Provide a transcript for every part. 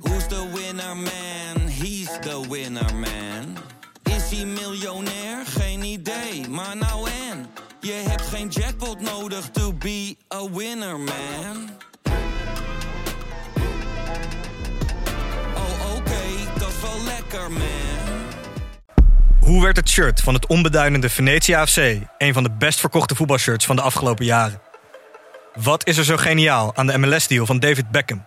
Who's the winner man? He's the winner man. Is hij miljonair? Geen idee, maar nou en. Je hebt geen jackpot nodig to be a winner man. Oh oké, dat is wel lekker man. Hoe werd het shirt van het onbeduidende Venetia AFC een van de best verkochte voetbalshirts van de afgelopen jaren? Wat is er zo geniaal aan de MLS-deal van David Beckham?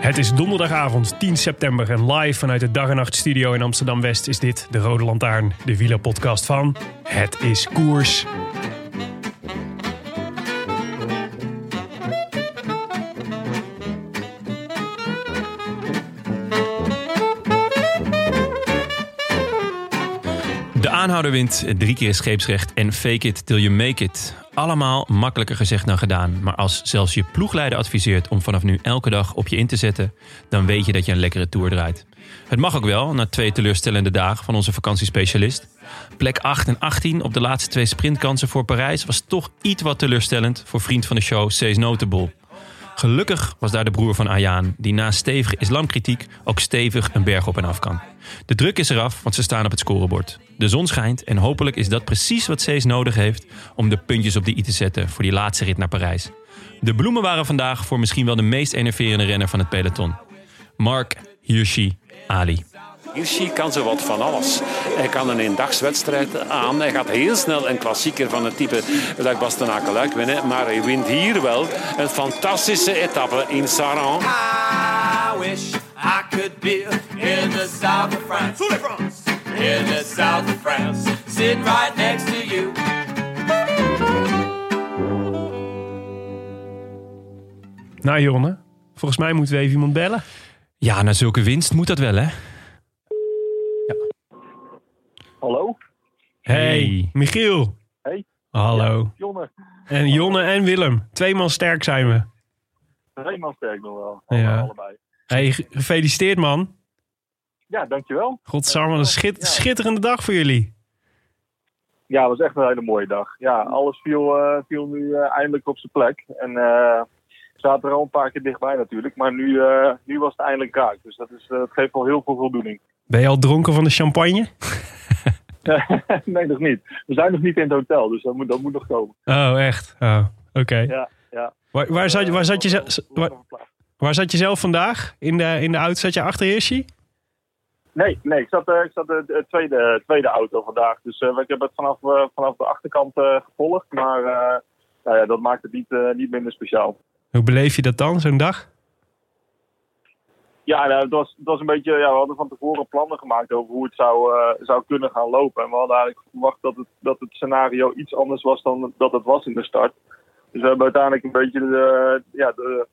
Het is donderdagavond 10 september en live vanuit de Dag en Nacht Studio in Amsterdam West is dit de Rode Lantaarn, de wielerpodcast van Het is Koers. De aanhouder wint, drie keer scheepsrecht en fake it till you make it. Allemaal makkelijker gezegd dan gedaan. Maar als zelfs je ploegleider adviseert om vanaf nu elke dag op je in te zetten, dan weet je dat je een lekkere tour draait. Het mag ook wel, na twee teleurstellende dagen van onze vakantiespecialist. Plek 8 en 18 op de laatste twee sprintkansen voor Parijs was toch iets wat teleurstellend voor vriend van de show Cees Notable. Gelukkig was daar de broer van Ayaan, die na stevige islamkritiek ook stevig een berg op en af kan. De druk is eraf, want ze staan op het scorebord. De zon schijnt en hopelijk is dat precies wat Cees nodig heeft om de puntjes op de i te zetten voor die laatste rit naar Parijs. De bloemen waren vandaag voor misschien wel de meest enerverende renner van het peloton. Mark Hirschi Ali. Hirschi kan zo wat van alles. Hij kan een eendagswedstrijd aan. Hij gaat heel snel een klassieker van het type dat Bastenakeluik winnen. Maar hij wint hier wel een fantastische etappe in Saran. I wish I could be in the south of France. In the south of France. Sitting right next to you. Nou Jonne, volgens mij moeten we even iemand bellen. Ja, na zulke winst moet dat wel, hè? Hallo? Hey, Michiel. Hey. Hallo. Jonne. En Jonne en Willem, tweemaal sterk zijn we. Helemaal sterk nog wel. Ja. Allebei. Hey, ge- gefeliciteerd man. Ja, dankjewel. Godsamme, wat een schit- schitterende dag voor jullie. Ja, het was echt een hele mooie dag. Ja, Mm. alles viel, eh, viel nu eh, eindelijk op zijn plek. En eh, we zaten er al een paar keer dichtbij natuurlijk. Maar nu, eh, nu was het eindelijk raak. Dus dat, is, eh, dat geeft al heel veel voldoening. Ben je al dronken van de champagne? nee, nog niet. We zijn nog niet in het hotel, dus dat moet, dat moet nog komen. Oh, echt? Oh, oké. Ja, ja. Waar, waar, zat, waar, zat je, Eh, ze- waar, waar zat je zelf vandaag? In de, in de auto zat je achter Hirschi? Nee, nee, ik zat, eh, ik zat de de tweede, tweede auto vandaag. Dus eh, ik heb het vanaf, eh, vanaf de achterkant eh, gevolgd. Maar eh, nou ja, dat maakt het niet, eh, niet minder speciaal. Hoe beleef je dat dan, zo'n dag? Ja, nou, het, was, het was een beetje. Ja, we hadden van tevoren plannen gemaakt over hoe het zou, eh, zou kunnen gaan lopen. En we hadden eigenlijk verwacht dat het, dat het scenario iets anders was dan dat het was in de start. Dus we hebben uiteindelijk een beetje de, ja, de,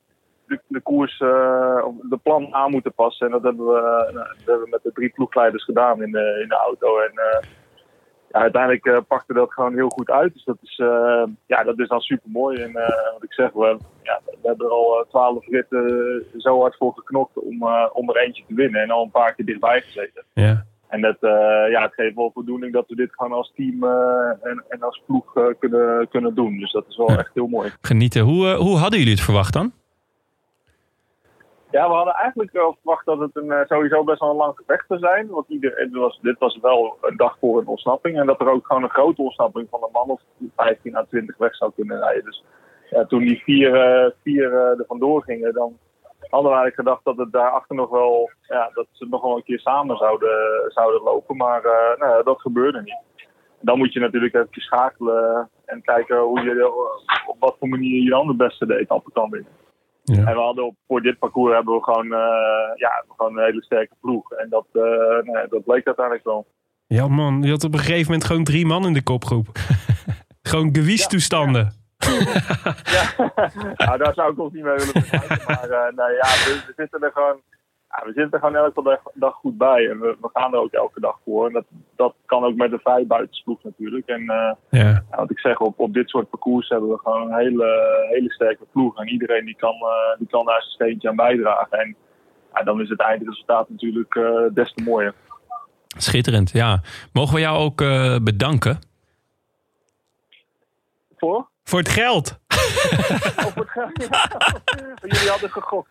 de, de koers, eh, of de plan aan moeten passen. En dat hebben we, eh, dat hebben we met de drie ploegleiders gedaan in de, in de auto. En eh, ja, uiteindelijk eh, pakte dat gewoon heel goed uit. Dus dat is, eh, ja, dat is dan super mooi. En eh, wat ik zeg, we, ja, we hebben er al eh, twaalf ritten eh, zo hard voor geknokt om, eh, om er eentje te winnen. En al een paar keer dichtbij gezeten. Ja. En dat, eh, ja, het geeft wel voldoening dat we dit gewoon als team eh, en, en als ploeg eh, kunnen, kunnen doen. Dus dat is wel echt heel mooi. Genieten. Hoe, eh, hoe hadden jullie het verwacht dan? Ja, we hadden eigenlijk wel verwacht dat het een, eh, sowieso best wel een lang gevecht zou zijn. Want ieder, het was, dit was wel een dag voor een ontsnapping. En dat er ook gewoon een grote ontsnapping van een man of 15 à 20 weg zou kunnen rijden. Dus ja, toen die vier, eh, vier eh, er vandoor gingen, dan hadden we eigenlijk gedacht dat het daarachter nog wel, ja, dat ze nog wel een keer samen zouden, zouden lopen. Maar eh, nou, ja, dat gebeurde niet. Dan moet je natuurlijk even eh, schakelen en kijken hoe je, op wat voor manier je dan de beste de etappe kan winnen. Ja. En we hadden op, voor dit parcours hebben we gewoon, eh, ja, gewoon een hele sterke ploeg. En dat, eh, nou ja, dat bleek uiteindelijk wel. Ja, man. Je had op een gegeven moment gewoon drie man in de kopgroep. gewoon gewiestoestanden. Nou, daar zou ik ons niet mee willen vergelijken. Maar eh, nee, ja, we, we zitten er gewoon, ja, we zitten er gewoon elke dag, dag goed bij. En we, we gaan er ook elke dag voor. En dat, dat kan ook met de vijf buitensploeg natuurlijk. En eh, Ja. ja, wat ik zeg, op, op dit soort parcours hebben we gewoon een hele, hele sterke ploeg. En iedereen die kan, eh, die kan daar zijn steentje aan bijdragen. En ja, dan is het eindresultaat natuurlijk eh, des te mooier. Schitterend, ja. Mogen we jou ook eh, bedanken? Voor? Voor het geld. Jullie hadden gegokt.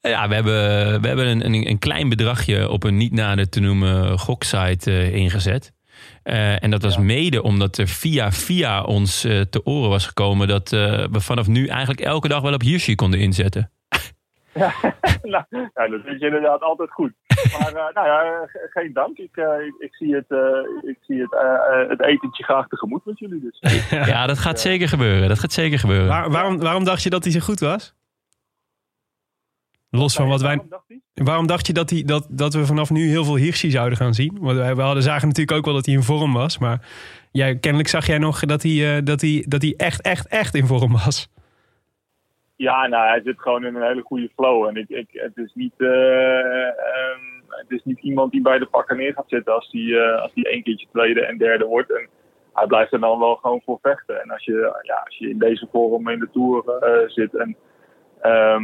Ja, we hebben, we hebben een, een, een klein bedragje op een niet nader te noemen goksite eh, ingezet. Eh, en dat was mede omdat er via via ons eh, te oren was gekomen dat eh, we vanaf nu eigenlijk elke dag wel op Hirschi konden inzetten. nou, ja, dat vind je inderdaad altijd goed. Maar eh, nou ja, ge- geen dank. Ik, eh, ik, ik zie, het, eh, ik zie het, eh, eh, het etentje graag tegemoet met jullie. Dus. Ja, dat gaat zeker gebeuren. Dat gaat zeker gebeuren. Waar- waarom, waarom dacht je dat hij zo goed was? Los van wat wij. Waarom dacht hij? Waarom dacht je dat, hij, dat, dat we vanaf nu heel veel Hirschi zouden gaan zien? Want wij- we hadden, zagen natuurlijk ook wel dat hij in vorm was. Maar jij, kennelijk zag jij nog dat hij, eh, dat, hij, dat hij echt, echt, echt in vorm was. Ja, nou, hij zit gewoon in een hele goede flow. En ik, ik, het, is niet, eh, ehm, het is niet iemand die bij de pakken neer gaat zitten als die, eh, als die één keertje tweede en derde wordt. En hij blijft er dan wel gewoon voor vechten. En als je, ja, als je in deze vorm in de Tour eh, zit en ehm,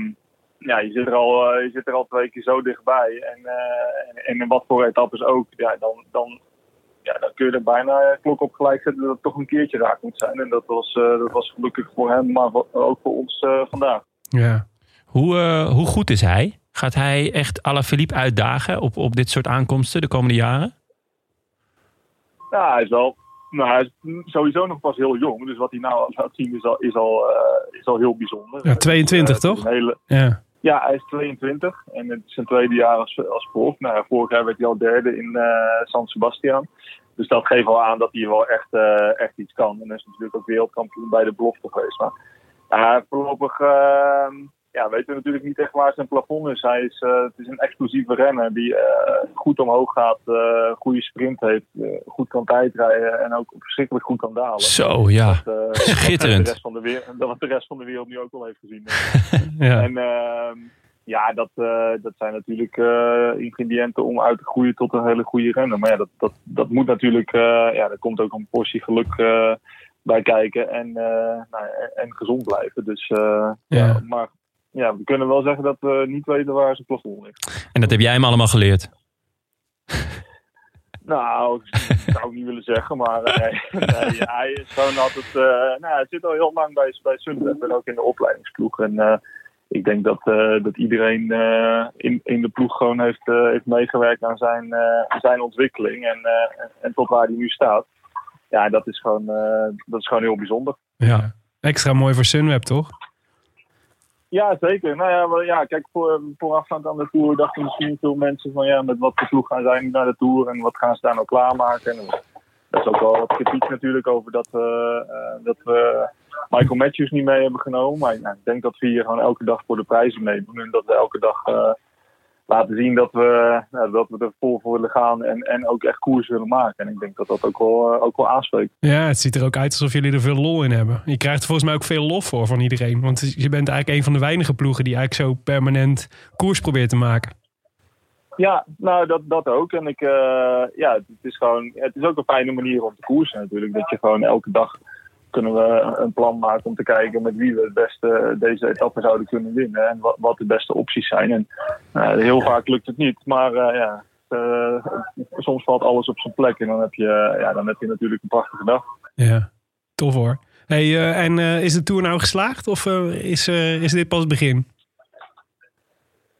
ja, je, zit er al, eh, je zit er al twee keer zo dichtbij. En, eh, en, en in wat voor etappes ook, ja, dan, dan, ja, dan kun je er bijna eh, klok op gelijk zetten dat het toch een keertje raak moet zijn. En dat was, eh, dat was gelukkig voor hem, maar wa- ook voor ons eh, vandaag. Ja. Hoe, eh, hoe goed is hij? Gaat hij echt Alaphilippe uitdagen op, op dit soort aankomsten de komende jaren? Ja, hij is wel. Nou, hij is sowieso nog pas heel jong. Dus wat hij nou al laat zien is al, is al, eh, is al heel bijzonder. Ja, 22 Eh, het is toch? een hele, Ja. ja, hij is 22. En het is zijn tweede jaar als, als prof. Nou, ja, vorig jaar werd hij al derde in eh, San Sebastian. Dus dat geeft al aan dat hij wel echt, eh, echt iets kan. En hij is natuurlijk ook wereldkampioen bij de belofte geweest. Maar ja, voorlopig eh, ja, weten we natuurlijk niet echt waar zijn plafond is. Hij is eh, het is een explosieve renner die eh, goed omhoog gaat, eh, goede sprint heeft, eh, goed kan tijdrijden en ook verschrikkelijk goed kan dalen. Zo, ja. Eh, Schitterend. Wat de rest van de, wereld, wat de rest van de wereld nu ook al heeft gezien. ja. En ehm, ja, dat, eh, dat zijn natuurlijk eh, ingrediënten om uit te groeien tot een hele goede renner. Maar ja, dat, dat, dat moet natuurlijk, eh, ja, er komt ook een portie geluk eh, bij kijken en, eh, nou, en- en gezond blijven. Dus eh, ja. Ja. maar ja, we kunnen wel zeggen dat we niet weten waar zijn plafond ligt. En dat heb jij hem allemaal geleerd. Nou, dat zou ik niet willen zeggen, maar eh, nee, nee, hij is gewoon altijd, eh, nou, hij zit al heel lang bij, bij Sunweb en ook in de opleidingsploeg. En, eh, ik denk dat, eh, dat iedereen eh, in, in de ploeg gewoon heeft, eh, heeft meegewerkt aan zijn, eh, aan zijn ontwikkeling en, eh, en- en tot waar hij nu staat. Ja, dat is gewoon, eh, dat is gewoon heel bijzonder. ja. Extra mooi voor Sunweb, toch? Ja, zeker. Nou ja, wel, ja kijk, voor, eh, voorafgaand aan de Tour dachten misschien veel mensen van ja, met wat voor ploeg gaan zij nu naar de Tour en wat gaan ze daar nou klaarmaken. En dat is ook wel wat kritiek natuurlijk over dat, we, eh, dat we Michael Matthews niet mee hebben genomen. Maar ja, ik denk dat we hier gewoon elke dag voor de prijzen meedoen en dat we elke dag eh, laten zien dat we, nou, dat we er vol voor willen gaan en, en ook echt koers willen maken. En ik denk dat dat ook wel, eh, ook wel aanspreekt. Ja, het ziet er ook uit alsof jullie er veel lol in hebben. Je krijgt er volgens mij ook veel lof voor van iedereen. Want je bent eigenlijk een van de weinige ploegen die eigenlijk zo permanent koers probeert te maken. Ja, nou dat, dat ook. En ik, eh, ja, het is gewoon, het is ook een fijne manier om te koersen natuurlijk. Dat je gewoon elke dag kunnen we een plan maken om te kijken met wie we het beste deze etappe zouden kunnen winnen. En wat, wat de beste opties zijn. En eh, heel vaak lukt het niet. Maar eh, ja, eh, soms valt alles op zijn plek. En dan heb je, ja, dan heb je natuurlijk een prachtige dag. Ja, tof hoor. Hey, eh, en eh, is de Tour nou geslaagd of eh, is, eh, is dit pas het begin?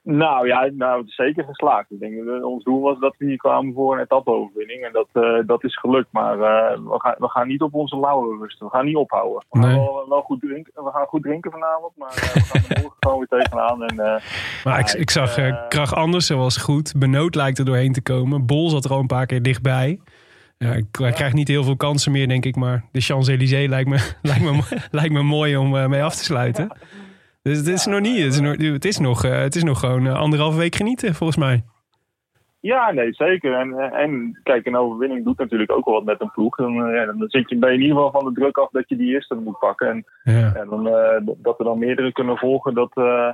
Nou ja, nou, het is zeker geslaagd. Ik denk, dat we- ons doel was dat we hier kwamen voor een etappeoverwinning. En dat, eh, dat is gelukt. Maar eh, we, gaan, we gaan niet op onze lauwen rusten. We gaan niet ophouden. We, gaan Nee. wel, wel goed drinken, we gaan goed drinken vanavond. Maar eh, we gaan er morgen gewoon weer tegenaan. En, eh, Maar ik, Ja, ik zag eh eh, Krach Andersen was goed. Benoot lijkt er doorheen te komen. Bol zat er al een paar keer dichtbij. Ja, ik, hij krijgt niet heel veel kansen meer, denk ik. Maar de Champs-Élysées lijkt me, lijkt, me, lijkt me mooi om eh, mee af te sluiten. Dus het is nog niet. Het is nog, het is nog, eh, het is nog gewoon eh, anderhalve week genieten, volgens mij. Ja, nee, zeker. En, eh, en kijk, een overwinning doet natuurlijk ook wel wat met een ploeg. Dan, eh, ja, dan zit je, ben je in ieder geval van de druk af dat je die eerste moet pakken. En, Ja. en dan, eh, d- dat er dan meerdere kunnen volgen, dat, eh,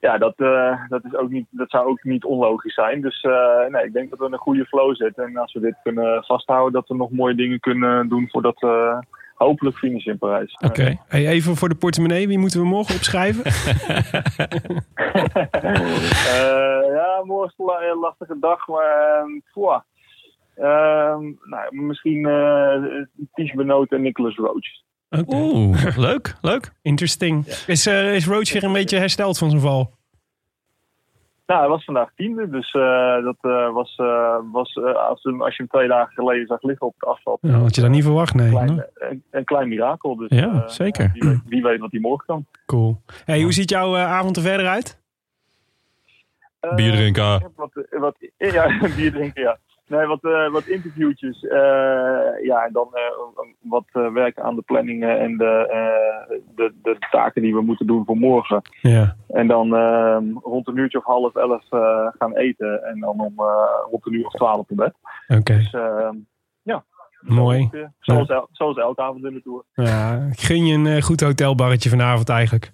ja, dat, eh, dat, is ook niet, dat zou ook niet onlogisch zijn. Dus eh, nee, ik denk dat we in een goede flow zitten. En als we dit kunnen vasthouden, dat we nog mooie dingen kunnen doen voordat we hopelijk finishen in Parijs. Oké. Hey, even voor de portemonnee. Wie moeten we morgen opschrijven? Eh, ja, morgen is la- een lastige dag, maar ehm, pwa. Ehm, nou, misschien eh Ties Benoot en Nicholas Roach. Oké. Oeh, leuk, leuk. Interesting. Is, eh is Roach weer een beetje hersteld van zijn val? Nou, hij was vandaag tiende, dus eh, dat eh, was, eh, was eh, als, je hem, als je hem twee dagen geleden zag liggen op het asfalt, Nou, had je dat niet verwacht, nee. klein, Nou, een, een klein mirakel. Dus, Ja, eh, zeker. ja, wie, weet, wie weet wat hij morgen kan. Cool. Hey, hoe ziet jouw eh, avond er verder uit? Eh, Bier Ik drinken. heb wat, eh, wat, ja, bier drinken, ja. Nee, wat, eh, wat interviewtjes. eh, ja, en dan eh, wat eh, werken aan de planningen en de, eh, de, de taken die we moeten doen voor morgen. Ja. En dan eh, rond een uurtje of half elf eh, gaan eten. En dan om eh, rond een uur of twaalf op bed. Oké. Dus eh, ja. Mooi. Eh, Zoals, el- zoals elke avond in de tour. Ja, ik gun je een eh, goed hotelbarretje vanavond eigenlijk.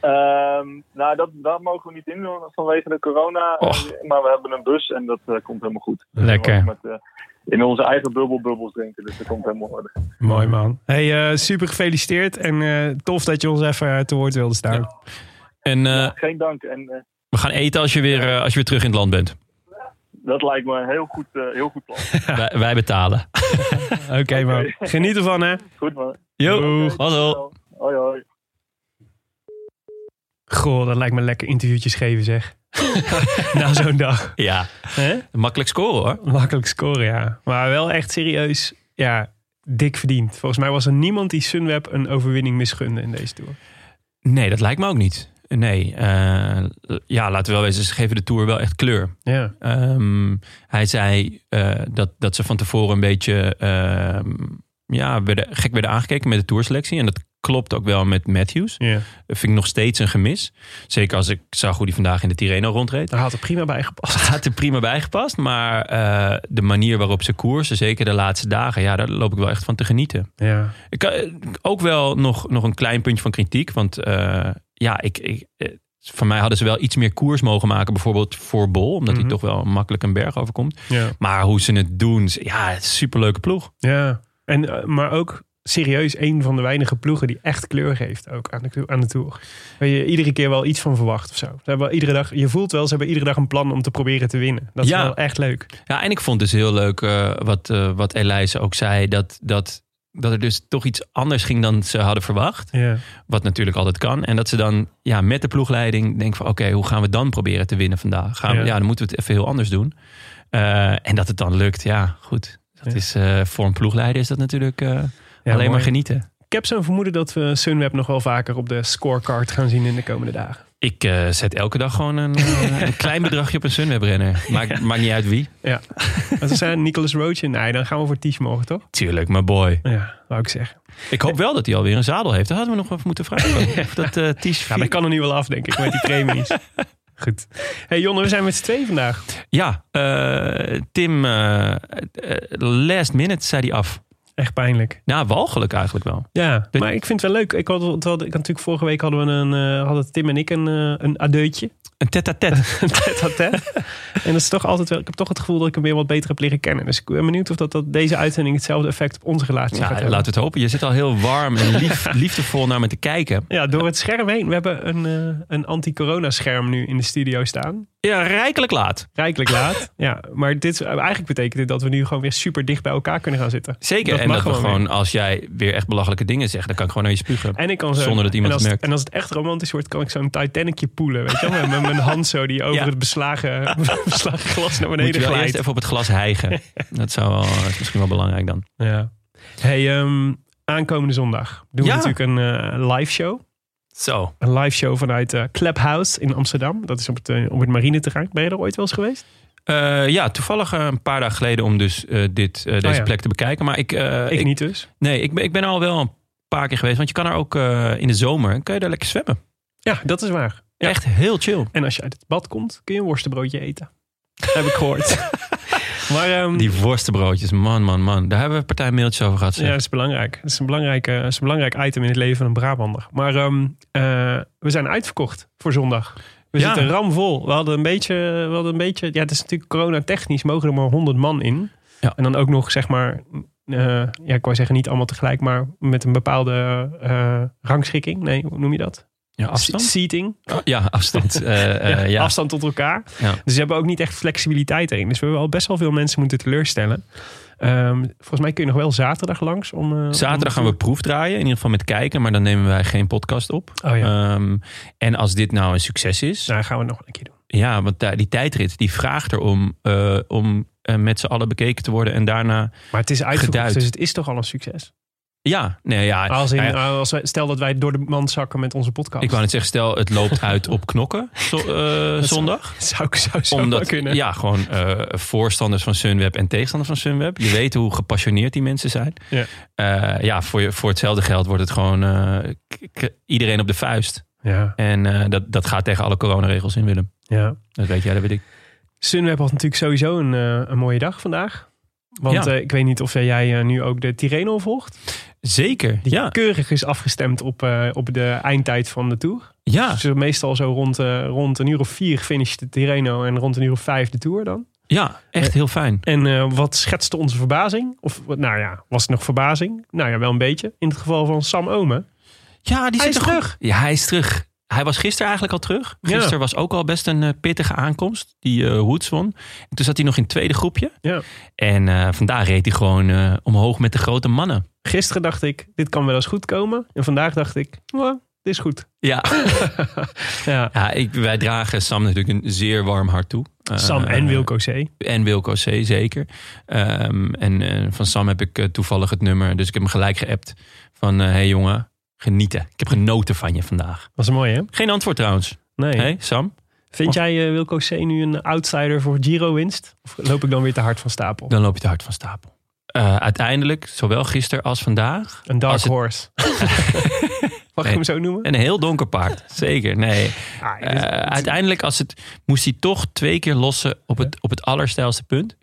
Ehm, nou, dat, dat mogen we niet in doen vanwege de corona. Och. Eh, Maar we hebben een bus en dat eh, komt helemaal goed. Dus Lekker. we mogen Met, eh, in onze eigen bubbel bubbels drinken, dus dat komt helemaal in orde. Mooi man. Hey, eh, super gefeliciteerd en eh, tof dat je ons even eh, te woord wilde staan. En eh, Geen dank. En eh, we gaan eten als je, weer, eh, als je weer terug in het land bent. dat lijkt me een heel goed, eh, heel goed plan. Wij, wij betalen. Oké man, geniet ervan hè. Goed man. Jo, hallo. Hoi hoi. Goh, dat lijkt me lekker interviewtjes geven zeg. Na zo'n dag. Ja, Hè? makkelijk scoren hoor. Makkelijk scoren ja. Maar wel echt serieus, ja, dik verdiend. Volgens mij was er niemand die Sunweb een overwinning misgunde in deze Tour. Nee, dat lijkt me ook niet. Nee, eh, ja, laten we wel wezen, ze geven de Tour wel echt kleur. Ja. Ehm, hij zei eh, dat, dat ze van tevoren een beetje ehm, ja, werden, gek werden aangekeken met de tourselectie. En dat klopt ook wel met Matthews. ja. Dat vind ik nog steeds een gemis. Zeker als ik zag hoe hij vandaag in de Tirreno rondreed. Daar had er prima bij gepast. Had er prima bijgepast, maar eh, de manier waarop ze koersen, zeker de laatste dagen, ja, daar loop ik wel echt van te genieten. Ja. Ik, eh, ook wel nog, nog een klein puntje van kritiek. Want eh, ja, ik, ik, eh, van mij hadden ze wel iets meer koers mogen maken. Bijvoorbeeld voor Bol. Omdat Mhm. hij toch wel makkelijk een berg overkomt. ja. Maar hoe ze het doen. ze- Ja, het is een superleuke ploeg. Ja, en, eh, maar ook serieus een van de weinige ploegen die echt kleur geeft ook aan de, aan de Tour. Waar je iedere keer wel iets van verwacht of zo. Ze hebben wel iedere dag, je voelt wel, ze hebben iedere dag een plan om te proberen te winnen. Dat is Ja. wel echt leuk. Ja, en ik vond dus heel leuk eh, wat, eh, wat Elise ook zei. Dat, dat, dat er dus toch iets anders ging dan ze hadden verwacht. Ja, Wat natuurlijk altijd kan. En dat ze dan ja, met de ploegleiding denken van... oké, hoe gaan we dan proberen te winnen vandaag? Gaan we, Ja. ja. dan moeten we het even heel anders doen. Eh, en dat het dan lukt, ja, goed. Dat Ja. is, eh, voor een ploegleider is dat natuurlijk eh, alleen maar genieten. Ik heb zo'n vermoeden dat we Sunweb nog wel vaker op de scorecard gaan zien in de komende dagen. Ik eh, zet elke dag gewoon een, eh, een klein bedragje op een Sunwebrenner. Maakt, maakt niet uit wie. Als we zijn Nicolas Roach, nee, dan gaan we voor Ties mogen, toch? Tuurlijk, mijn boy. Ja, wou ik zeggen. Ik hoop wel dat hij alweer een zadel heeft. Dat hadden we nog even moeten vragen. Of dat eh Ties Ja, dat kan er nu wel af, denk ik, met die premies. Goed. hey Jonne, we zijn met z'n tweeën vandaag. Ja, eh, Tim, eh, eh, last minute zei hij af. Echt pijnlijk. Nou, walgelijk eigenlijk wel. Ja, Dit- maar ik vind het wel leuk. Ik had, want we hadden- ik had natuurlijk vorige week hadden we een, eh, hadden Tim en ik een, eh, een adeutje. Een tête-à-tête. Een tête-à-tête. en dat is toch altijd wel. Ik heb toch het gevoel dat ik hem weer wat beter heb leren kennen. Dus ik ben benieuwd of dat, dat deze uitzending hetzelfde effect op onze relatie Ja, gaat laten hebben. we het hopen. Je zit al heel warm en lief, liefdevol naar me te kijken. Ja, door het scherm heen. We hebben een, eh, een anti-corona scherm nu in de studio staan. Ja, rijkelijk laat. Rijkelijk laat. ja, maar dit, is- eigenlijk betekent dit dat we nu gewoon weer super dicht bij elkaar kunnen gaan zitten. Zeker. Dat en mag dat we gewoon gewoon, als jij weer echt belachelijke dingen zegt, dan kan ik gewoon naar je spugen. En ik kan zo, Zonder dat iemand en als, het merkt. En als het echt romantisch wordt, kan ik zo'n Titanicje poelen. Weet je wel? Met, met mijn hand zo die over Ja. het beslagen, beslagen glas naar Moet je beneden wel glijdt. eerst even op het glas hijgen. dat, zou wel, dat is misschien wel belangrijk dan. Ja. Hey, ehm, aankomende zondag doen Ja. we natuurlijk een eh, live show. Zo. Een live show vanuit eh Clubhouse in Amsterdam. Dat is op het, eh, op het marineterrein. Ben je er ooit wel eens geweest? Eh, ja, toevallig eh, een paar dagen geleden om dus eh, dit, eh, deze ja. plek te bekijken. Maar ik, eh, Ik, ik- niet dus. Nee, ik ben, ik ben al wel een paar keer geweest. Want je kan er ook eh, in de zomer, kan je daar lekker zwemmen. Ja, dat is waar. Echt heel chill. En als je uit het bad komt, kun je een worstenbroodje eten. Heb ik gehoord. maar ehm, Die worstenbroodjes, man, man, man. Daar hebben we een partij mailtjes over gehad. zeg. ja, dat is belangrijk. Dat is, een belangrijke, dat is een belangrijk item in het leven van een Brabander. Maar ehm, eh, we zijn uitverkocht voor zondag. We Ja. zitten ramvol. We hadden een beetje, we hadden een beetje... Ja, het is natuurlijk coronatechnisch. Mogen er maar 100 man in. Ja. En dan ook nog, zeg maar... eh, ja, ik wou zeggen niet allemaal tegelijk, maar met een bepaalde eh, rangschikking. Nee, hoe noem je dat? Ja, afstand? Seating. Ja, afstand. Eh, eh, ja, ja. afstand tot elkaar. Ja. Dus ze hebben ook niet echt flexibiliteit erin. Dus we hebben al best wel veel mensen moeten teleurstellen. Ehm, volgens mij kun je nog wel zaterdag langs. Om, eh, Zaterdag om- gaan we proefdraaien. In ieder geval met kijken, maar dan nemen wij geen podcast op. Oh ja. Ehm, en als dit nou een succes is, Nou, gaan we het nog een keer doen. ja, want daar- die tijdrit die vraagt erom eh, om eh, met z'n allen bekeken te worden en daarna. Maar het is uitverkocht, Geduid. dus het is toch al een succes. Ja, nee, ja. Als in, eh, nou ja, als wij, stel dat wij door de mand zakken met onze podcast. ik wou net zeggen, stel het loopt uit op knokken zo- eh, zondag. zou ik zou, zou wel Omdat, kunnen. ja, gewoon eh, voorstanders van Sunweb en tegenstanders van Sunweb. Je weet hoe gepassioneerd die mensen zijn. Ja. Eh, ja voor, je, voor hetzelfde geld wordt het gewoon eh, k- k- iedereen op de vuist. ja, En eh, dat, dat gaat tegen alle coronaregels in, Willem. ja. Dat weet jij, dat weet ik. Sunweb had natuurlijk sowieso een, eh, een mooie dag vandaag. Want Ja. eh, ik weet niet of jij eh, nu ook de Tirreno volgt. Zeker, Die ja. keurig is afgestemd op, eh, op de eindtijd van de Tour. Ja, Dus meestal zo rond, eh, rond een uur of vier finisht de Tirreno en rond een uur of vijf de Tour dan. ja echt heel fijn. En eh, wat schetste onze verbazing? Of wat- nou ja, was het nog verbazing? Nou ja, wel een beetje. In het geval van Sam Omen. Ja, die Hij is zit er goed- terug. Ja, hij is terug. Hij was gisteren eigenlijk al terug. Ja. Gisteren was ook al best een eh, pittige aankomst, die eh Woods won. En toen zat hij nog in het tweede groepje. Ja. En eh, vandaag reed hij gewoon eh, omhoog met de grote mannen. Gisteren dacht ik, dit kan wel eens goed komen. En vandaag dacht ik, "Mwah, dit is goed. Ja, Ja. ja ik, wij dragen Sam natuurlijk een zeer warm hart toe. Eh, Sam en Wilco C. En Wilco C, zeker. Ehm, en eh, van Sam heb ik eh, toevallig het nummer, dus ik heb hem gelijk geappt. Van, hé hey, jongen, genieten. Ik heb genoten van je vandaag. Was mooi hè? Geen antwoord trouwens. Nee. Hé, Sam? Vind jij eh, Wilco C nu een outsider voor Giro-winst? Of loop ik dan weer te hard van stapel? Dan loop je te hard van stapel. Eh, uiteindelijk, zowel gisteren als vandaag, Een dark Als het- horse. Mag ik Nee. hem zo noemen? een heel donker paard. zeker, nee. Ah, dit Eh, is- uiteindelijk als het, moest hij toch twee keer lossen op het, op het allerstijlste punt.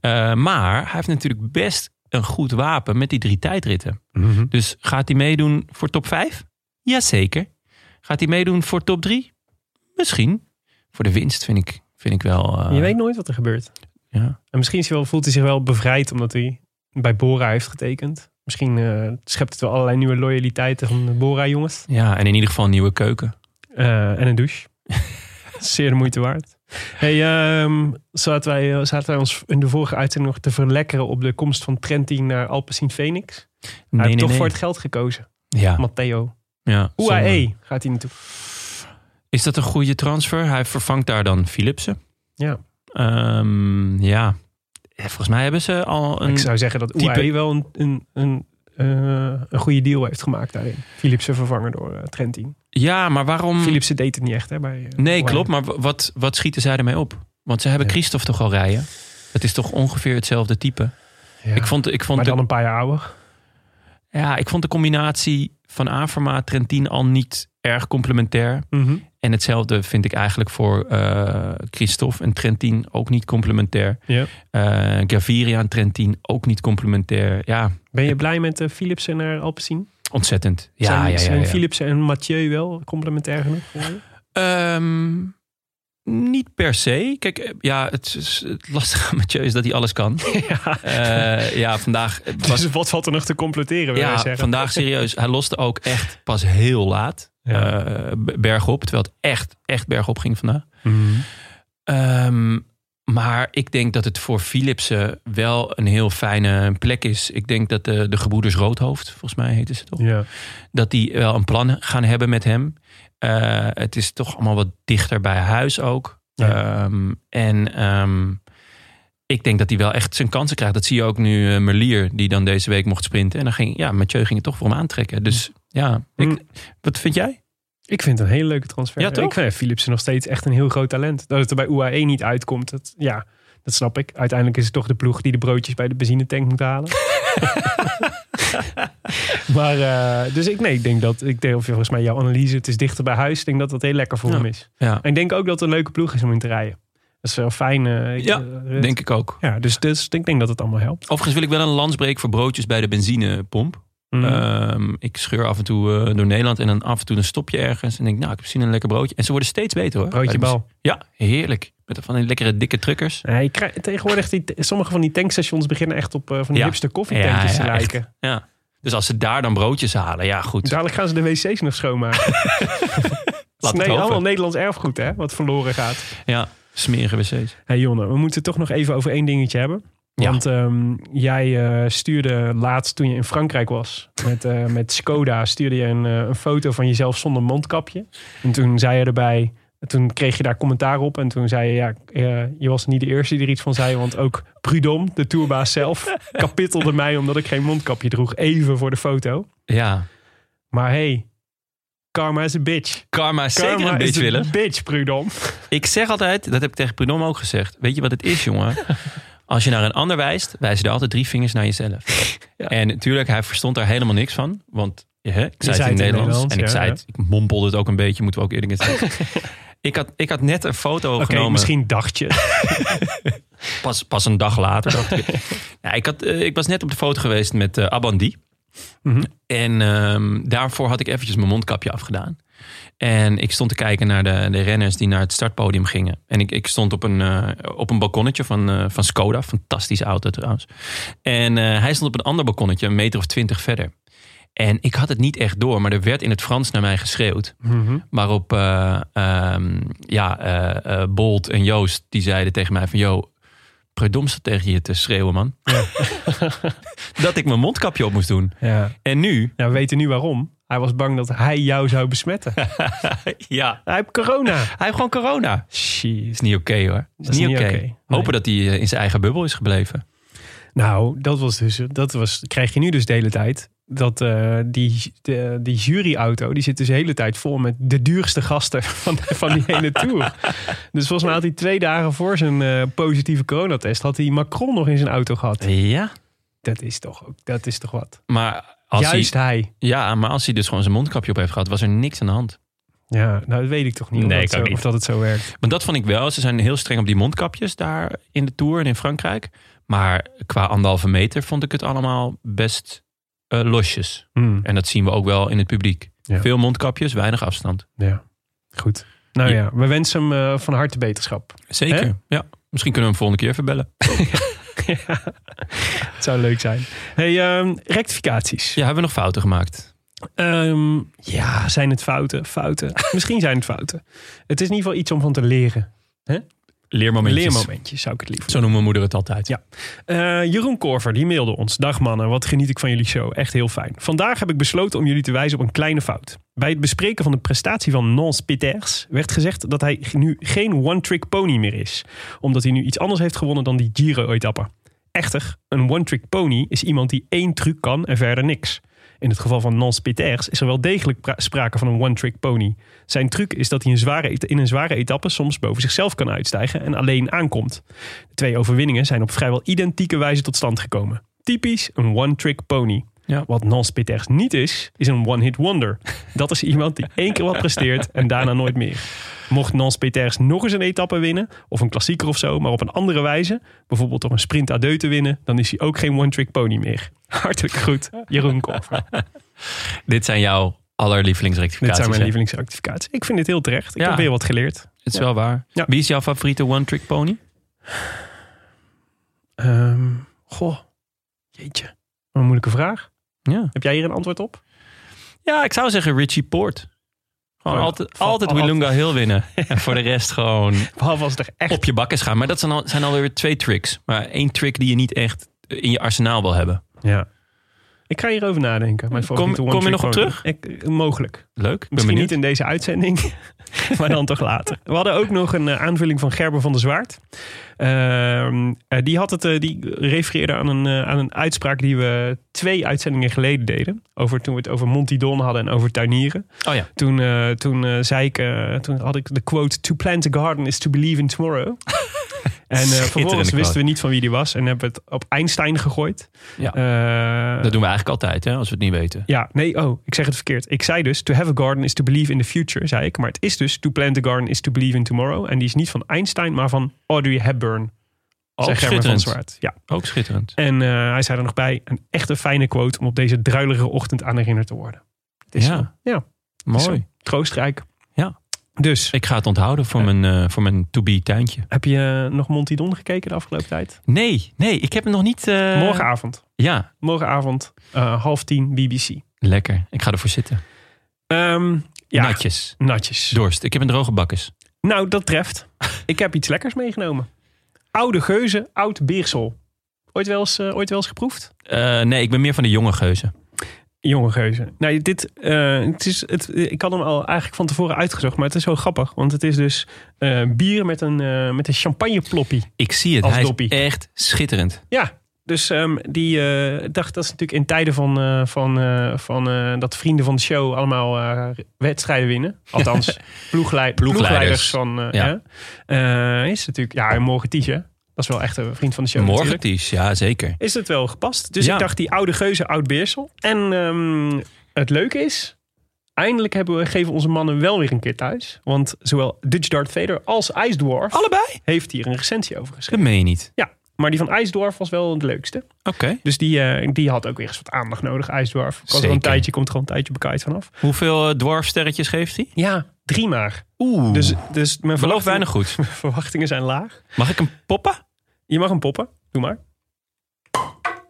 Eh, maar hij heeft natuurlijk best een goed wapen met die drie tijdritten. Mhm. Dus gaat hij meedoen voor top 5? Jazeker. Gaat hij meedoen voor top 3? Misschien. Voor de winst vind ik, vind ik wel. eh, Je weet nooit wat er gebeurt. ja. En misschien is hij wel, voelt hij zich wel bevrijd omdat hij bij Bora heeft getekend. Misschien eh, schept het wel allerlei nieuwe loyaliteiten van de Bora-jongens. ja, en in ieder geval een nieuwe keuken. Eh, en een douche. Zeer de moeite waard. Hey, ehm, zaten, wij, zaten wij ons in de vorige uitzending nog te verlekkeren op de komst van Trentin naar Alpecin Phoenix? Hij Nee, heeft nee, toch nee. voor het E, geld gekozen, ja, Matteo. ja, zonde. UAE gaat hij naartoe. Is dat een goede transfer? Hij vervangt daar dan Philipsen. Ja. Ehm, ja. Eh, Volgens mij hebben ze al een. Ik zou zeggen dat type- UAE wel een, een, een, eh, een goede deal heeft gemaakt daarin. Philipsen vervangen door eh, Trentin. Ja, maar waarom. Philipsen deed het niet echt hè, bij eh, Mm. Nee, UAE. klopt. Maar wa- wat, wat schieten zij ermee op? Want ze hebben Ja. Christophe toch al rijden? Dat is toch ongeveer hetzelfde type? Ja. Ik vond, ik vond maar de dan een paar jaar ouder. Ja, ik vond de combinatie van Avermaat Trentin al niet erg complementair. En hetzelfde vind ik eigenlijk voor eh Christophe en Trentin ook niet complementair. Ja. Eh, Gaviria en Trentin ook niet complementair. Ja, Ben je blij met eh, Philipsen naar Alpecin? ontzettend. Ja, zijn, ja, ja. zijn ja. Philipsen en Mathieu wel complementair genoeg? voor je? Ehm, niet per se. Kijk, eh, ja, het, is- het lastige aan Mathieu is dat hij alles kan. ja. Eh, ja, vandaag was Dus wat valt er nog te completeren? wil jij Ja, zeggen? vandaag serieus. Hij loste ook echt pas heel laat Ja. eh, b- bergop. Terwijl het echt, echt bergop ging vandaag. Mhm. Ehm, maar ik denk dat het voor Philipsen wel een heel fijne plek is. Ik denk dat de, de gebroeders Roodhoofd, volgens mij heten ze toch? Ja. Dat die wel een plan gaan hebben met hem. Eh, het is toch allemaal wat dichter bij huis ook. Ja. Ehm, en ehm, ik denk dat hij wel echt zijn kansen krijgt. Dat zie je ook nu eh, Merlier, die dan deze week mocht sprinten. En dan ging, ja, Mathieu ging het toch voor hem aantrekken. Dus ja, ik, Mm. wat vind jij? Ik vind het een hele leuke transfer. Ja, toch? Ik vind eh, Philipsen nog steeds echt een heel groot talent. Dat het er bij E UAE niet uitkomt, dat, ja, dat snap ik. Uiteindelijk is het toch de ploeg die de broodjes bij de benzinetank moet halen. Maar, eh, dus ik, nee, ik denk dat, ik denk, of volgens mij jouw analyse, het is dichter bij huis. Ik denk dat dat heel lekker voor Ja. hem is. Ja, En ik denk ook dat het een leuke ploeg is om in te rijden. Dat is wel fijn. eh, ik, Ja, eh, denk ik ook. Ja, dus, dus ik denk dat het allemaal helpt. Overigens wil ik wel een lans breken voor broodjes bij de benzinepomp. Mm. Ehm, ik scheur af en toe eh, door Nederland en dan af en toe een stopje ergens. En denk, nou, ik heb zin in een lekker broodje. En ze worden steeds beter hoor. Broodje Bij de- bal. Ja, dus- heerlijk. Met van die lekkere dikke truckers. Nee, je krijgt- tegenwoordig, die, sommige van die tankstations beginnen echt op eh, van die Ja. hipster koffietankjes Ja, te ja, echt. lijken. Ja. Dus als ze daar dan broodjes halen, ja goed. Dadelijk gaan ze de wc's nog schoonmaken. Laat Het het is nee, hopen. allemaal Nederlands erfgoed hè, wat verloren gaat. Ja, smerige wc's. hey Jonne, we moeten het toch nog even over één dingetje hebben. Ja. Want ehm, jij eh, stuurde laatst toen je in Frankrijk was met, eh, met Skoda, stuurde je een, eh, een foto van jezelf zonder mondkapje. En toen zei je erbij, toen kreeg je daar commentaar op en toen zei je, ja, eh, je was niet de eerste die er iets van zei, want ook Prudhomme, de tourbaas zelf, kapittelde mij omdat ik geen mondkapje droeg, even voor de foto. Ja, Maar hey, karma is a bitch. karma is Karma zeker een is beetje willen. bitch, Prudhomme. Ik zeg altijd, dat heb ik tegen Prudhomme ook gezegd. Weet je wat het is, jongen? Als je naar een ander wijst, wijzen er altijd drie vingers naar jezelf. En natuurlijk, hij verstond daar helemaal niks van. Want hè, ik zei het in het Nederlands. en ik ja, zei ja. het, ik mompelde het ook een beetje, moeten we ook eerlijk zeggen. ik, had, ik had net een foto Oké, genomen. misschien dacht je. Pas, pas een dag later, dacht ik. Nou, ik, had, eh, ik was net op de foto geweest met eh, Abandi. Mhm. En ehm, daarvoor had ik eventjes mijn mondkapje afgedaan. En ik stond te kijken naar de, de renners die naar het startpodium gingen. En ik, ik stond op een, eh, op een balkonnetje van, eh, van Skoda. Fantastische auto trouwens. En eh, hij stond op een ander balkonnetje, een meter of twintig verder. En ik had het niet echt door, maar er werd in het Frans naar mij geschreeuwd. Waarop eh, ehm, ja, eh, eh, Bolt en Joost die zeiden tegen mij van... Yo, Predom staat tegen je te schreeuwen, man. dat ik mijn mondkapje op moest doen. Ja. En nu... Ja, Nou, we weten nu waarom. Hij was bang dat hij jou zou besmetten. Ja. hij heeft corona. Hij heeft gewoon corona. Jeez. Is niet oké, hoor. Is, is niet niet oké. oké. Nee. Hopen dat hij eh, in zijn eigen bubbel is gebleven. Nou, dat was dus. Dat was, krijg je nu dus de hele tijd. Dat eh, die, de, die juryauto, die zit dus de hele tijd vol met de duurste gasten van, van die hele tour. Dus volgens mij had hij twee dagen voor zijn eh, positieve coronatest, had hij Macron nog in zijn auto gehad. Ja. Dat is toch ook, dat is toch wat. Maar als, Juist hij, hij. ja, maar als hij dus gewoon zijn mondkapje op heeft gehad... was er niks aan de hand. Ja, nou dat weet ik toch niet, Nee, of, ik dat ook zo- niet. of dat het zo werkt. Maar dat vond ik wel. Ze zijn heel streng op die mondkapjes daar in de Tour en in Frankrijk. Maar qua anderhalve meter vond ik het allemaal best eh, losjes. Hmm, En dat zien we ook wel in het publiek. Ja. Veel mondkapjes, weinig afstand. ja, goed. Nou Ja. ja, we wensen hem eh, van harte beterschap. Zeker, Hè? ja. Misschien kunnen we hem volgende keer even bellen. Het zou leuk zijn. Hey, ehm, rectificaties. Ja, hebben we nog fouten gemaakt? Ehm, ja, zijn het fouten? Fouten. Misschien zijn het fouten. Het is in ieder geval iets om van te leren. Leermomentjes. Leermomentjes zou ik het liever Zo noemt mijn moeder het altijd. Ja. Eh, Jeroen Korver, die mailde ons. Dag mannen, wat geniet ik van jullie show. Echt heel fijn. Vandaag heb ik besloten om jullie te wijzen op een kleine fout. Bij het bespreken van de prestatie van Nance Peters werd gezegd dat hij nu geen one-trick pony meer is. Omdat hij nu iets anders heeft gewonnen dan die Giro-etappe. Echter, een one-trick pony is iemand die één truc kan en verder niks. In het geval van Nance Peters is er wel degelijk pra- sprake van een one-trick pony. Zijn truc is dat hij een zware et- in een zware etappe soms boven zichzelf kan uitstijgen en alleen aankomt. De twee overwinningen zijn op vrijwel identieke wijze tot stand gekomen. Typisch een one-trick pony. Ja. Wat Nance Peters niet is, is een one-hit wonder. Dat is iemand die één keer wat presteert en daarna nooit meer. Mocht Nance Peters nog eens een etappe winnen, of een klassieker of zo, maar op een andere wijze, bijvoorbeeld door een sprint à deux te winnen, dan is hij ook geen one-trick pony meer. Hartelijk goed, Jeroen Korver. Dit zijn jouw Dit allerlievelingsrectificaties. zijn mijn hè? lievelingsactificaties. Ik vind dit heel terecht. Ik Ja. heb weer wat geleerd. Het is wel waar. Ja. Wie is jouw favoriete one-trick pony? Ehm, goh, jeetje. Wat een moeilijke vraag. Ja. Heb jij hier een antwoord op? ja, ik zou zeggen Richie Poort. Gewoon Oh, altijd, van- altijd altijd. Wilunga Hill winnen. En voor de rest gewoon Behalve als het er echt op je bakkes gaan. Maar dat zijn, al, zijn alweer twee tricks. Maar één trick die je niet echt in je arsenaal wil hebben. Ja. Ik ga hierover nadenken. Mijn favoriete kom je one-trick nog op pony. terug? Ik, eh, mogelijk. Leuk. Ik Ben Misschien benieuwd. niet in deze uitzending, maar dan toch later. We hadden ook nog een eh, aanvulling van Gerber van der Zwaard. Ehm, eh, die, had het, eh, die refereerde aan een, eh, aan een uitspraak die we twee uitzendingen geleden deden. Over, toen we het over Monty Don hadden en over tuinieren. Oh ja. Toen, eh, toen eh, zei ik, eh, toen had ik de quote: To plant a garden is to believe in tomorrow. En eh, vervolgens quote. wisten we niet van wie die was. En hebben we het op Einstein gegooid. Ja. Eh, Dat doen we eigenlijk altijd, hè, als we het niet weten. ja, nee, oh, ik zeg het verkeerd. Ik zei dus, to have a garden is to believe in the future, zei ik. Maar het is dus, to plant a garden is to believe in tomorrow. En die is niet van Einstein, maar van Audrey Hepburn. Ook Zeg Herman van Oh, schitterend. Zwaard. Ja. Ook schitterend. En eh, hij zei er nog bij, een echte fijne quote om op deze druilige ochtend aan herinnerd te worden. Het is Ja. zo. Ja, is Mooi. troostrijk. Ja. Dus, Ik ga het onthouden voor mijn, eh, voor mijn to-be tuintje. heb je eh, nog Monty Don gekeken de afgelopen tijd? Nee, nee, ik heb hem nog niet... eh, Morgenavond. Ja, Morgenavond, eh, half tien, BBC. lekker. Ik ga ervoor zitten. Ehm, ja, Natjes. natjes. Dorst. Ik heb een droge bakkes. Nou, dat treft. Ik heb iets lekkers meegenomen. Oude geuzen, oud beersel. Ooit wel eens, eh, ooit wel eens geproefd? Eh, nee, ik ben meer van de jonge geuzen. Jonge geuzen. Nou, dit, eh, het is, het, ik had hem al eigenlijk van tevoren uitgezocht, maar het is zo grappig. Want het is dus eh, bier met een, eh, met een champagneploppie. Ik zie het. Als Hij doppie. is echt schitterend. Ja, dus ehm, die eh, dacht dat is natuurlijk in tijden van, eh, van, eh, van eh, dat vrienden van de show allemaal eh, wedstrijden winnen. Althans, ploeglei- ploegleiders. Ploegleiders. van. eh, Ja. hè. Eh, is natuurlijk, ja, en morgen Tietje. Dat is wel echt een vriend van de show. Morgen, natuurlijk. Ties. Ja, zeker. Is het wel gepast? Dus Ja. ik dacht, die oude geuze, oud beersel. En ehm, het leuke is. Eindelijk hebben we, geven onze mannen wel weer een keer thuis. Want zowel Dutch Darth Vader als Ice Dwarf Allebei? heeft hier een recensie over geschreven. Dat meen je niet. Ja, maar die van Ice Dwarf was wel het leukste. Oké. Dus die, eh, die had ook weer eens wat aandacht nodig, IJsdorf. Komt er Zeker. een tijdje, komt er al een tijdje bekijkt vanaf. Hoeveel eh, dwarfsterretjes geeft hij? Ja, drie maar. Oeh. Dus, Dus dus mijn beloof verwachtingen- weinig goed. mijn verwachtingen zijn laag. Mag ik hem poppen? Je mag hem poppen. Doe maar.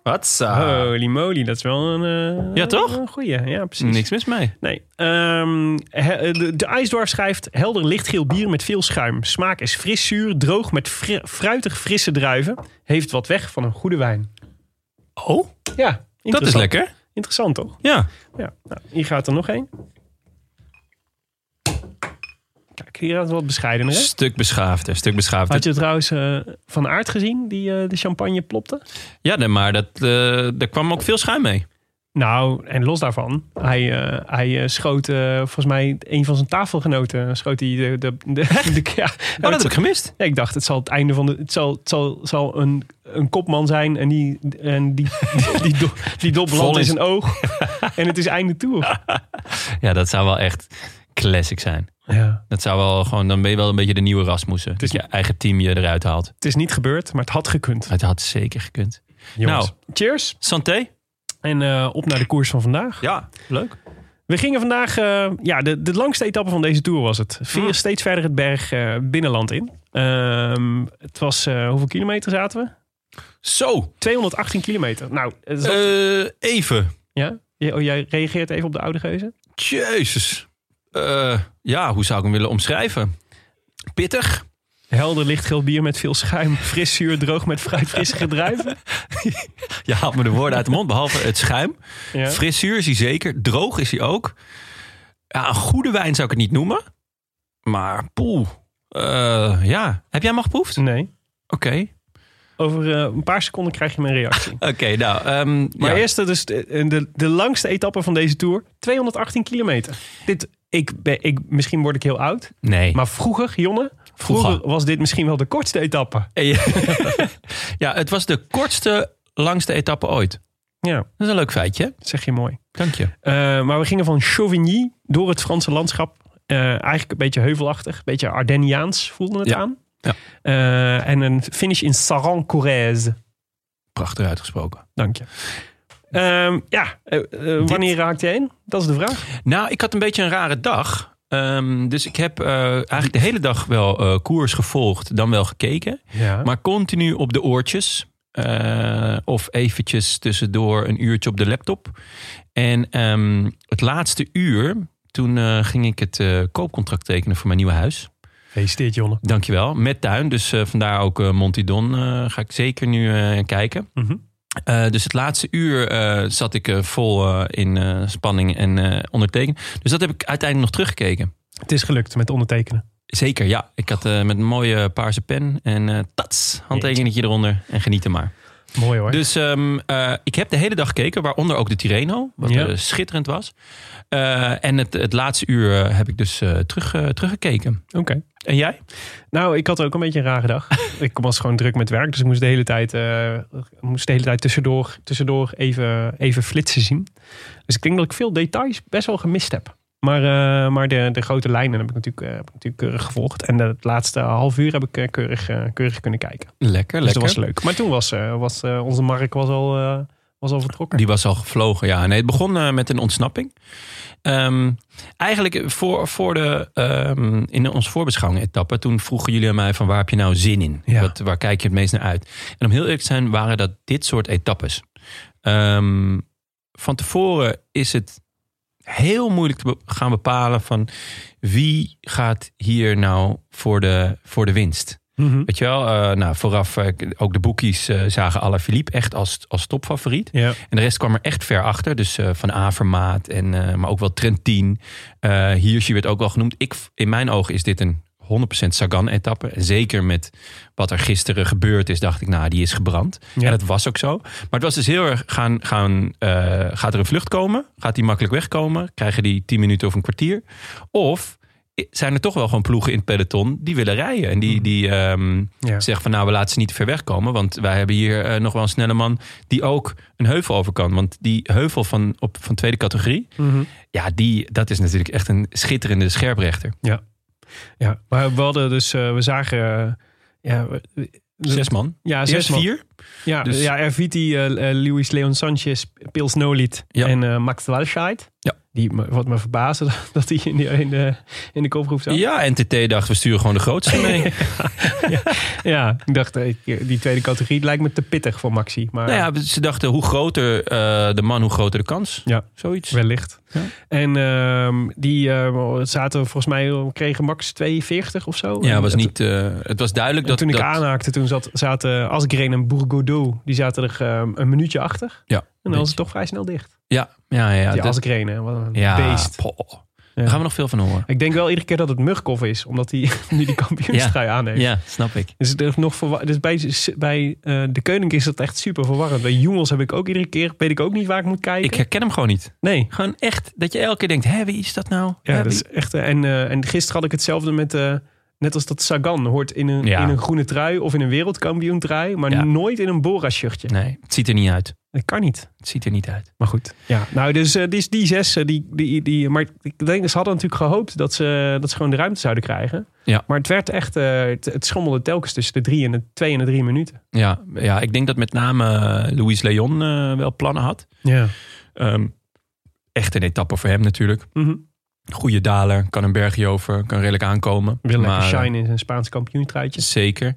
Wat? Holy moly, dat is wel een... eh, Ah. Ja, toch? Een goeie, ja precies. Niks mis mee. Nee. Ehm, he- de, de IJsdorf schrijft helder lichtgeel bier met veel schuim. Smaak is fris zuur, droog met fri- fruitig frisse druiven. Heeft wat weg van een goede wijn. Oh, Ja, dat is interessant. lekker. Interessant toch? Ja. Ja, nou, hier gaat er nog één. Kijk, hier gaat het wat bescheidener. Hè? Stuk beschaafder, stuk beschaafder. Had je trouwens eh, van aard gezien die eh, de champagne plopte? Ja, nee, maar dat, eh daar kwam ook veel schuim mee. Nou, en los daarvan, hij, eh, hij eh, schoot eh, volgens mij een van zijn tafelgenoten. eh, Schoot hij de. de, de, de- ja, Oh, dat heb ik gemist. Ja, ik dacht, het zal het einde van de. Het zal, het zal, zal een, een kopman zijn en die, en die, die, die, do- die dop Vol landt in is- zijn oog. en het is einde toe. Ja, dat zou wel echt classic zijn. Ja. Dat zou wel gewoon, dan ben je wel een beetje de nieuwe Rasmussen. Dat is- je eigen team je eruit haalt. Het is niet gebeurd, maar het had gekund. Het had zeker gekund. Nou, cheers. Santé. En eh, op naar de koers van vandaag. Ja, leuk. We gingen vandaag, eh, ja, de, de langste etappe van deze tour was het. Veer Mm. steeds verder het berg eh, binnenland in. Ehm, het was, eh, hoeveel kilometer zaten we? Zo, 218 kilometer. Nou, het is- eh, even. ja? Je- oh, jij reageert even op de oude geuzen? Jezus. Eh, ja, hoe zou ik hem willen omschrijven? Pittig. Helder lichtgeel bier met veel schuim. Fris zuur, droog met fruitfrissige druiven. Je haalt me de woorden uit de mond, behalve het schuim. Ja. Frisuur is hij zeker. Droog is hij ook. Ja, een goede wijn zou ik het niet noemen. Maar poeh. Eh, ja, heb jij hem al geproefd? Oké. Nee. Over eh, een paar seconden krijg je mijn reactie. Oké, nou. ehm, Maar ja. eerst dus de, de, de langste etappe van deze tour. 218 kilometer. Dit, ik ben, ik, misschien word ik heel oud. Nee. Maar vroeger, Jonne, vroeger, Vroeger. was dit misschien wel de kortste etappe. ja, het was de kortste, langste etappe ooit. Ja, Dat is een leuk feitje. dat zeg je mooi. Dank je. Eh, maar we gingen van Chauvigny door het Franse landschap. Eh, eigenlijk een beetje heuvelachtig, een beetje Ardenniaans voelde het Ja, aan. ja. Eh, en een finish in Saran-Corrèze. Prachtig uitgesproken. Dank je. Ehm, ja, eh, eh, wanneer raakt je heen? Dat is de vraag. Nou, ik had een beetje een rare dag. Ehm, dus ik heb eh, eigenlijk de hele dag wel eh, koers gevolgd, dan wel gekeken. Ja. Maar continu op de oortjes. Eh, of eventjes tussendoor een uurtje op de laptop. En ehm, het laatste uur, toen eh, ging ik het eh, koopcontract tekenen voor mijn nieuwe huis. Gefeliciteerd, Jonne. Dankjewel, met tuin. Dus eh, vandaar ook eh Montidon eh, ga ik zeker nu eh, kijken. Mhm. Eh, dus het laatste uur eh, zat ik eh, vol eh, in eh, spanning en eh onderteken. Dus dat heb ik uiteindelijk nog teruggekeken. Het is gelukt met ondertekenen. Zeker, ja. Ik had eh, met een mooie paarse pen en eh tats, handtekeningetje eronder en genieten maar. Mooi hoor. Dus ehm, eh, ik heb de hele dag gekeken, waaronder ook de Tireno, wat Ja. eh, schitterend was. Eh, en het, het laatste uur eh, heb ik dus eh, terug, eh, teruggekeken. Oké. En jij? Nou, ik had ook een beetje een rare dag. ik was gewoon druk met werk, dus ik moest de hele tijd, eh, moest de hele tijd tussendoor, tussendoor even, even flitsen zien. Dus ik denk dat ik veel details best wel gemist heb. Maar, eh, maar de, de grote lijnen heb ik natuurlijk, eh, heb ik natuurlijk keurig gevolgd. En het laatste half uur heb ik eh, keurig, eh, keurig kunnen kijken. Lekker, Dus lekker. dat was leuk. Maar toen was, eh, was eh, onze Mark was al, eh, was al vertrokken. Die was al gevlogen, ja. Nee, het begon eh, met een ontsnapping. Ehm, eigenlijk voor, voor de, ehm, in onze voorbeschouwing-etappe... toen vroegen jullie aan mij van waar heb je nou zin in? Ja. Wat, waar kijk je het meest naar uit? En om heel eerlijk te zijn waren dat dit soort etappes. Ehm, van tevoren is het heel moeilijk te be- gaan bepalen... van wie gaat hier nou voor de, voor de winst? Mhm. Weet je wel, eh, nou, vooraf eh, ook de boekies eh, zagen Alaphilippe echt als, als topfavoriet. Ja. En de rest kwam er echt ver achter. Dus eh, Van Avermaat, en, eh, maar ook wel Trentin. Eh Hirschi werd ook wel genoemd. Ik, in mijn ogen is dit een 100% Sagan-etappe. En zeker met wat er gisteren gebeurd is, dacht ik, nou, die is gebrand. Ja. En dat was ook zo. Maar het was dus heel erg, gaan, gaan, eh, gaat er een vlucht komen? Gaat die makkelijk wegkomen? Krijgen die 10 minuten of een kwartier? Of zijn er toch wel gewoon ploegen in het peloton die willen rijden? En die, die ehm, Ja. zeggen van, nou, we laten ze niet ver wegkomen. Want wij hebben hier eh, nog wel een snelle man die ook een heuvel over kan. Want die heuvel van, op, van tweede categorie, Mhm. ja, die, dat is natuurlijk echt een schitterende scherprechter. ja. Maar we hadden dus, eh, we zagen... eh, ja, we- Zes man. Dus- ja, Eerst zes man. vier. Ja, Dus- ja Erviti, eh eh, Luis Leon Sanchez, Pils Snowlied Ja. en eh, Max Walscheid. Ja. Die, me- wat me verbaasde dat hij in de, in de, in de kopgroep zat. Ja, NTT dacht, we sturen gewoon de grootste mee. Ja, ik dacht, eh, die tweede categorie lijkt me te pittig voor Maxi. Maar nou ja, ze dachten, hoe groter eh, de man, hoe groter de kans. Ja. Zoiets. wellicht. Ja. En ehm, die eh, zaten volgens mij, kregen max 42 of zo. Ja, En het was, dat- niet, eh, het was duidelijk en dat... toen ik dat, aanhaakte, toen zat, zaten Asgreen en Bourgodeau, die zaten er ehm, een minuutje achter. Ja, En dan was het toch vrij snel dicht. Ja, ja, ja. die dat- Asgreen, hè, wat een ja, beest. poh. Ja. Daar gaan we nog veel van horen. Ik denk wel iedere keer dat het Mugkov is, omdat hij nu die kampioenstrui aan heeft. Ja, snap ik. Dus, er is nog verwa- dus bij, bij eh, de Koning is dat echt super verwarrend. Bij Jongels heb ik ook iedere keer, weet ik ook niet waar ik moet kijken. Ik eh, herken hem gewoon niet. nee. Gewoon echt, dat je elke keer denkt, hé, wie is dat nou? Ja, Hè, dat wie- is echt, eh, en, eh, en gisteren had ik hetzelfde met, eh, net als dat Sagan hoort in een, Ja. in een groene trui of in een wereldkampioen trui, maar Ja. nooit in een Bora-shirtje. Nee, het ziet er niet uit. Dat kan niet. Het ziet er niet uit. Maar goed. Ja, nou, dus eh, die, die zes, eh, die, die, die, maar ik denk, ze hadden natuurlijk gehoopt dat ze, dat ze gewoon de ruimte zouden krijgen. Ja. Maar het werd echt, eh, het, het schommelde telkens tussen de drie en de twee en de drie minuten. Ja, ja ik denk dat met name eh, Luis Leon eh, wel plannen had. Ja. Ehm, echt een etappe voor hem natuurlijk. Mhm. Goede daler, kan een bergje over, kan redelijk aankomen. Wil lekker Maar, eh, shine in zijn Spaans kampioentruitje. Zeker.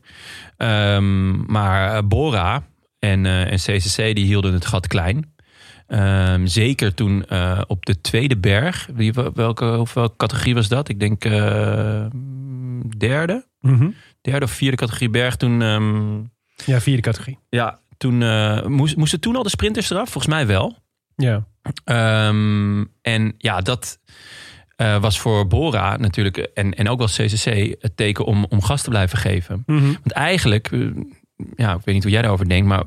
Ehm, maar eh, Bora en, eh, en CCC die hielden het gat klein. Ehm, zeker toen eh, op de tweede berg. Wie, wel- welke, of welke categorie was dat? Ik denk eh, derde. Mhm. Derde of vierde categorie berg. Toen, ehm, Ja, vierde categorie. ja, toen eh, moest, moesten toen al de sprinters eraf? Volgens mij wel. Ja. Ehm, en ja, dat eh, was voor Bora natuurlijk en, en ook wel CCC het teken om, om gas te blijven geven. Mhm. Want eigenlijk, eh, ja, ik weet niet hoe jij daarover denkt, maar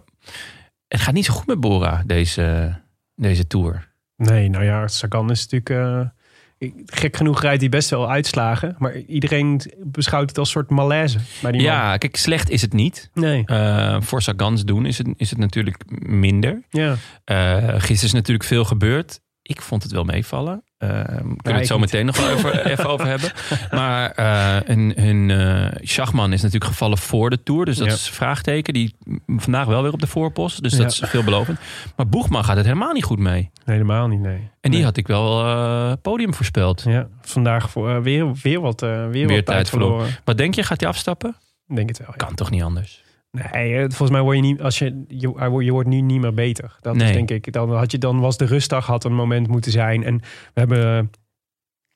het gaat niet zo goed met Bora deze, deze tour. Nee, nou ja, Sagan is natuurlijk... eh, ik- gek genoeg rijdt hij best wel uitslagen. Maar iedereen beschouwt het als een soort malaise bij die man. Ja, kijk, slecht is het niet. Nee. Eh, voor Sagans doen is het, is het natuurlijk minder. Ja. Eh, gisteren is natuurlijk veel gebeurd. Ik vond het wel meevallen. Eh, we kunnen Ja, het ik zo niet. meteen nog wel over, even over hebben. Maar eh hun, hun eh, Schachman is natuurlijk gevallen voor de Tour. Dus dat Ja. is een vraagteken. Die vandaag wel weer op de voorpost. Dus dat Ja. is veelbelovend. Maar Boegman gaat het helemaal niet goed mee. Helemaal niet, nee. En die Nee. had ik wel eh, podium voorspeld. Ja, vandaag voor, eh, weer, weer wat, eh, weer Weer wat tijd tijd verloren. Wat denk je, gaat hij afstappen? Denk het wel, ja. Kan toch niet anders? Nee, eh, volgens mij word je niet... Als je, je, hij wordt- je wordt nu niet meer beter. Dat Nee. is denk ik... Dan, had je, dan was de rustdag had een moment moeten zijn. En we hebben eh,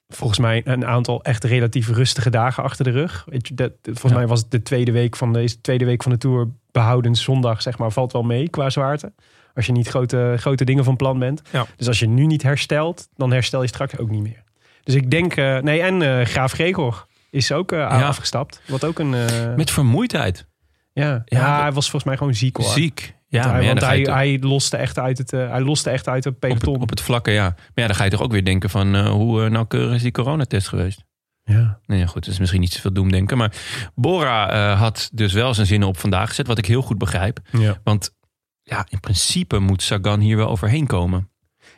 volgens mij een aantal echt relatief rustige dagen achter de rug. Weet je, dat, dat- volgens Ja. mij was het de tweede week van deze tweede week van de Tour... behoudend zondag, zeg maar, valt wel mee qua zwaarte. Als je niet grote, grote dingen van plan bent. Ja. Dus als je nu niet herstelt, dan herstel je straks ook niet meer. Dus ik denk... eh, nee, en eh, Graaf Gregor is ook eh, Ja. afgestapt. Wat ook een... eh, Met vermoeidheid. ja, ja, Ja, dat- hij was volgens mij gewoon ziek hoor. Ziek. Ja, maar ja, want dan ga hij, je toch hij, loste echt uit het, eh, hij loste echt uit het op, peloton. op het vlakke, ja. Maar ja, dan ga je toch ook weer denken van eh, hoe eh, nauwkeurig is die coronatest geweest? ja. Nee, Nou ja, goed, dat is misschien niet zoveel doemdenken. Maar Bora eh, had dus wel zijn zinnen op vandaag gezet, wat ik heel goed begrijp. Ja. Want ja, in principe moet Sagan hier wel overheen komen.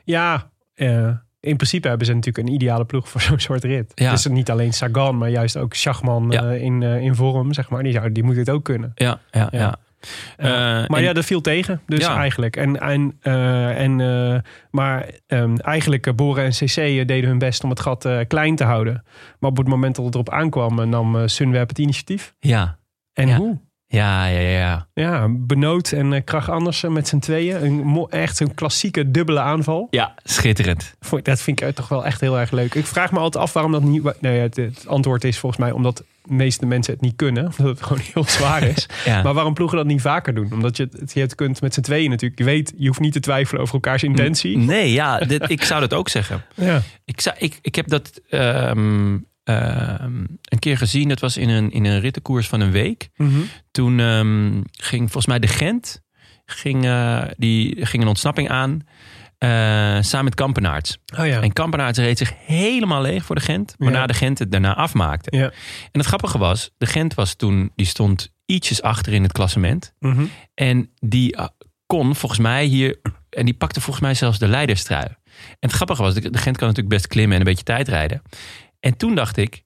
Ja, eh, in principe hebben ze natuurlijk een ideale ploeg voor zo'n soort rit. Ja. Dus niet alleen Sagan, maar juist ook Schachman Ja. eh, in, eh, in vorm, zeg maar. Die, zou, die moet het ook kunnen. Ja, ja, ja. Ja. Eh, maar en- ja, dat viel tegen, dus Ja. eigenlijk. En, en, eh, en, eh, maar ehm, eigenlijk, eh, Boren en CC deden hun best om het gat eh, klein te houden. Maar op het moment dat het erop aankwam, eh, nam eh, Sunweb het initiatief. ja, En Ja. hoe? ja, ja, ja, ja. Ja, Benoot en eh, Krach Andersen met z'n tweeën. Een, mo- echt een klassieke dubbele aanval. Ja, schitterend. Vond- Dat vind ik toch wel echt heel erg leuk. Ik vraag me altijd af waarom dat niet... Nou ja, het, het antwoord is volgens mij omdat de meeste mensen het niet kunnen. Omdat het gewoon heel zwaar is. Ja. Maar waarom ploegen dat niet vaker doen? Omdat je het- het, je het kunt met z'n tweeën natuurlijk. Je weet, je hoeft niet te twijfelen over elkaars Mm. intentie. Nee, ja, dit, ik zou dat ook zeggen. Ja. Ik, zou, ik, ik heb dat ehm, ehm, een keer gezien. Dat was in een, in een rittenkoers van een week. Mm-hmm. Toen ehm, ging volgens mij de Gent ging, eh, die ging een ontsnapping aan. eh, samen met Kampenaerts. Oh ja. En Kampenaerts reed zich helemaal leeg voor de Gent. Waarna Ja. de Gent het daarna afmaakte. Ja. En het grappige was, de Gent was toen, die stond ietsjes achter in het klassement. Mhm. En die eh, kon volgens mij hier. En die pakte volgens mij zelfs de leiderstrui. En het grappige was, de de Gent kan natuurlijk best klimmen en een beetje tijdrijden. En toen dacht ik,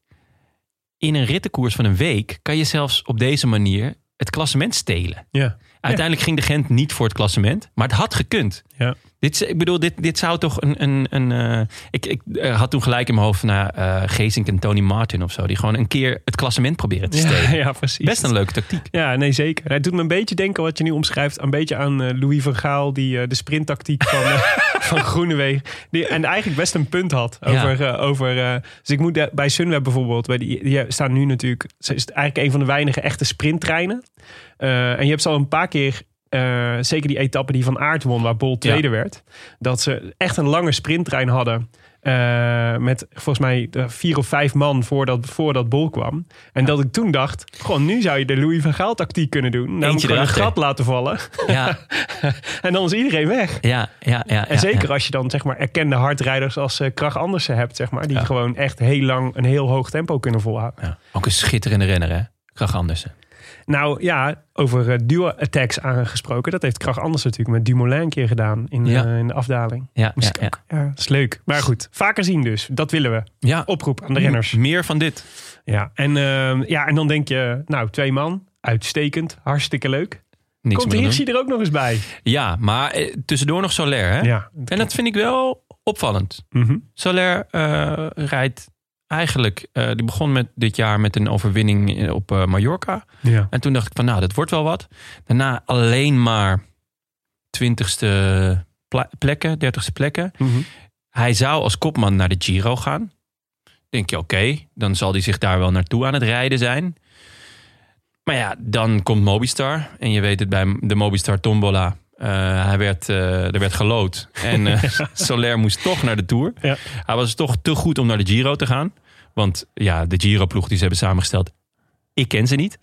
in een rittenkoers van een week kan je zelfs op deze manier het klassement stelen. ja. Uiteindelijk ging de Gent niet voor het klassement, maar het had gekund. Ja. Dit, is- ik bedoel, dit, dit zou toch een... een, een eh, ik ik eh, had toen gelijk in mijn hoofd naar eh Geesink en Tony Martin of zo. Die gewoon een keer het klassement proberen te stelen. Ja, ja, precies. Best een leuke tactiek. Ja, nee, zeker. Het doet me een beetje denken wat je nu omschrijft. Een beetje aan eh, Louis van Gaal, die eh, de sprinttactiek van, eh, van Groenewegen. Die, en eigenlijk best een punt had Ja. over. eh, over eh, dus ik moet daar- bij Sunweb bijvoorbeeld. Bij die, die staan nu natuurlijk. Ze is eigenlijk een van de weinige echte sprinttreinen. Eh, en je hebt ze al een paar keer. eh, zeker die etappe die van Aert won, waar Bol tweede werd. Dat ze echt een lange sprinttrein hadden. eh, met volgens mij eh, vier of vijf man voordat, voordat Bol kwam. En dat ik toen dacht, gewoon nu zou je de Louis van Gaal tactiek kunnen doen. Namelijk gewoon een erachter. gat laten vallen. Ja, en dan is iedereen weg. ja, ja. ja En zeker als je dan zeg maar erkende hardrijders als eh Krach Andersen hebt, zeg maar. Die Ja. gewoon echt heel lang een heel hoog tempo kunnen volhouden. Ja, ook een schitterende renner, hè? Krach Andersen. Nou ja, over eh duo-attacks aangesproken. Dat heeft Krach Andersen natuurlijk met Dumoulin een keer gedaan in, Ja. eh, in de afdaling. Ja, Moest ik ook. Ja, is leuk. Maar goed, vaker zien dus. Dat willen we. ja. Oproep aan de renners. Meer van dit. Ja, en, ehm, ja, en dan denk je, nou, twee man. Uitstekend. Hartstikke leuk. Niks Komt meer aan Hirschi er ook nog eens bij? doen. Ja, maar eh, tussendoor nog Soler, hè? Ja. En dat vind ik wel opvallend. Mhm. Soler eh, rijdt eigenlijk... eh, die begon met dit jaar met een overwinning eh, op eh, Mallorca. ja. En toen dacht ik van, nou, dat wordt wel wat. Daarna alleen maar twintigste plekken, dertigste plekken. Mhm. Hij zou als kopman naar de Giro gaan. Denk je, oké, dan zal hij zich daar wel naartoe aan het rijden zijn. Maar ja, dan komt Mobistar. En je weet het bij de Mobistar Tombola. eh, hij werd, eh, er werd gelood. En eh, Soler moest toch naar de Tour. Ja. Hij was toch te goed om naar de Giro te gaan. Want ja, de Giro-ploeg die ze hebben samengesteld, ik ken ze niet.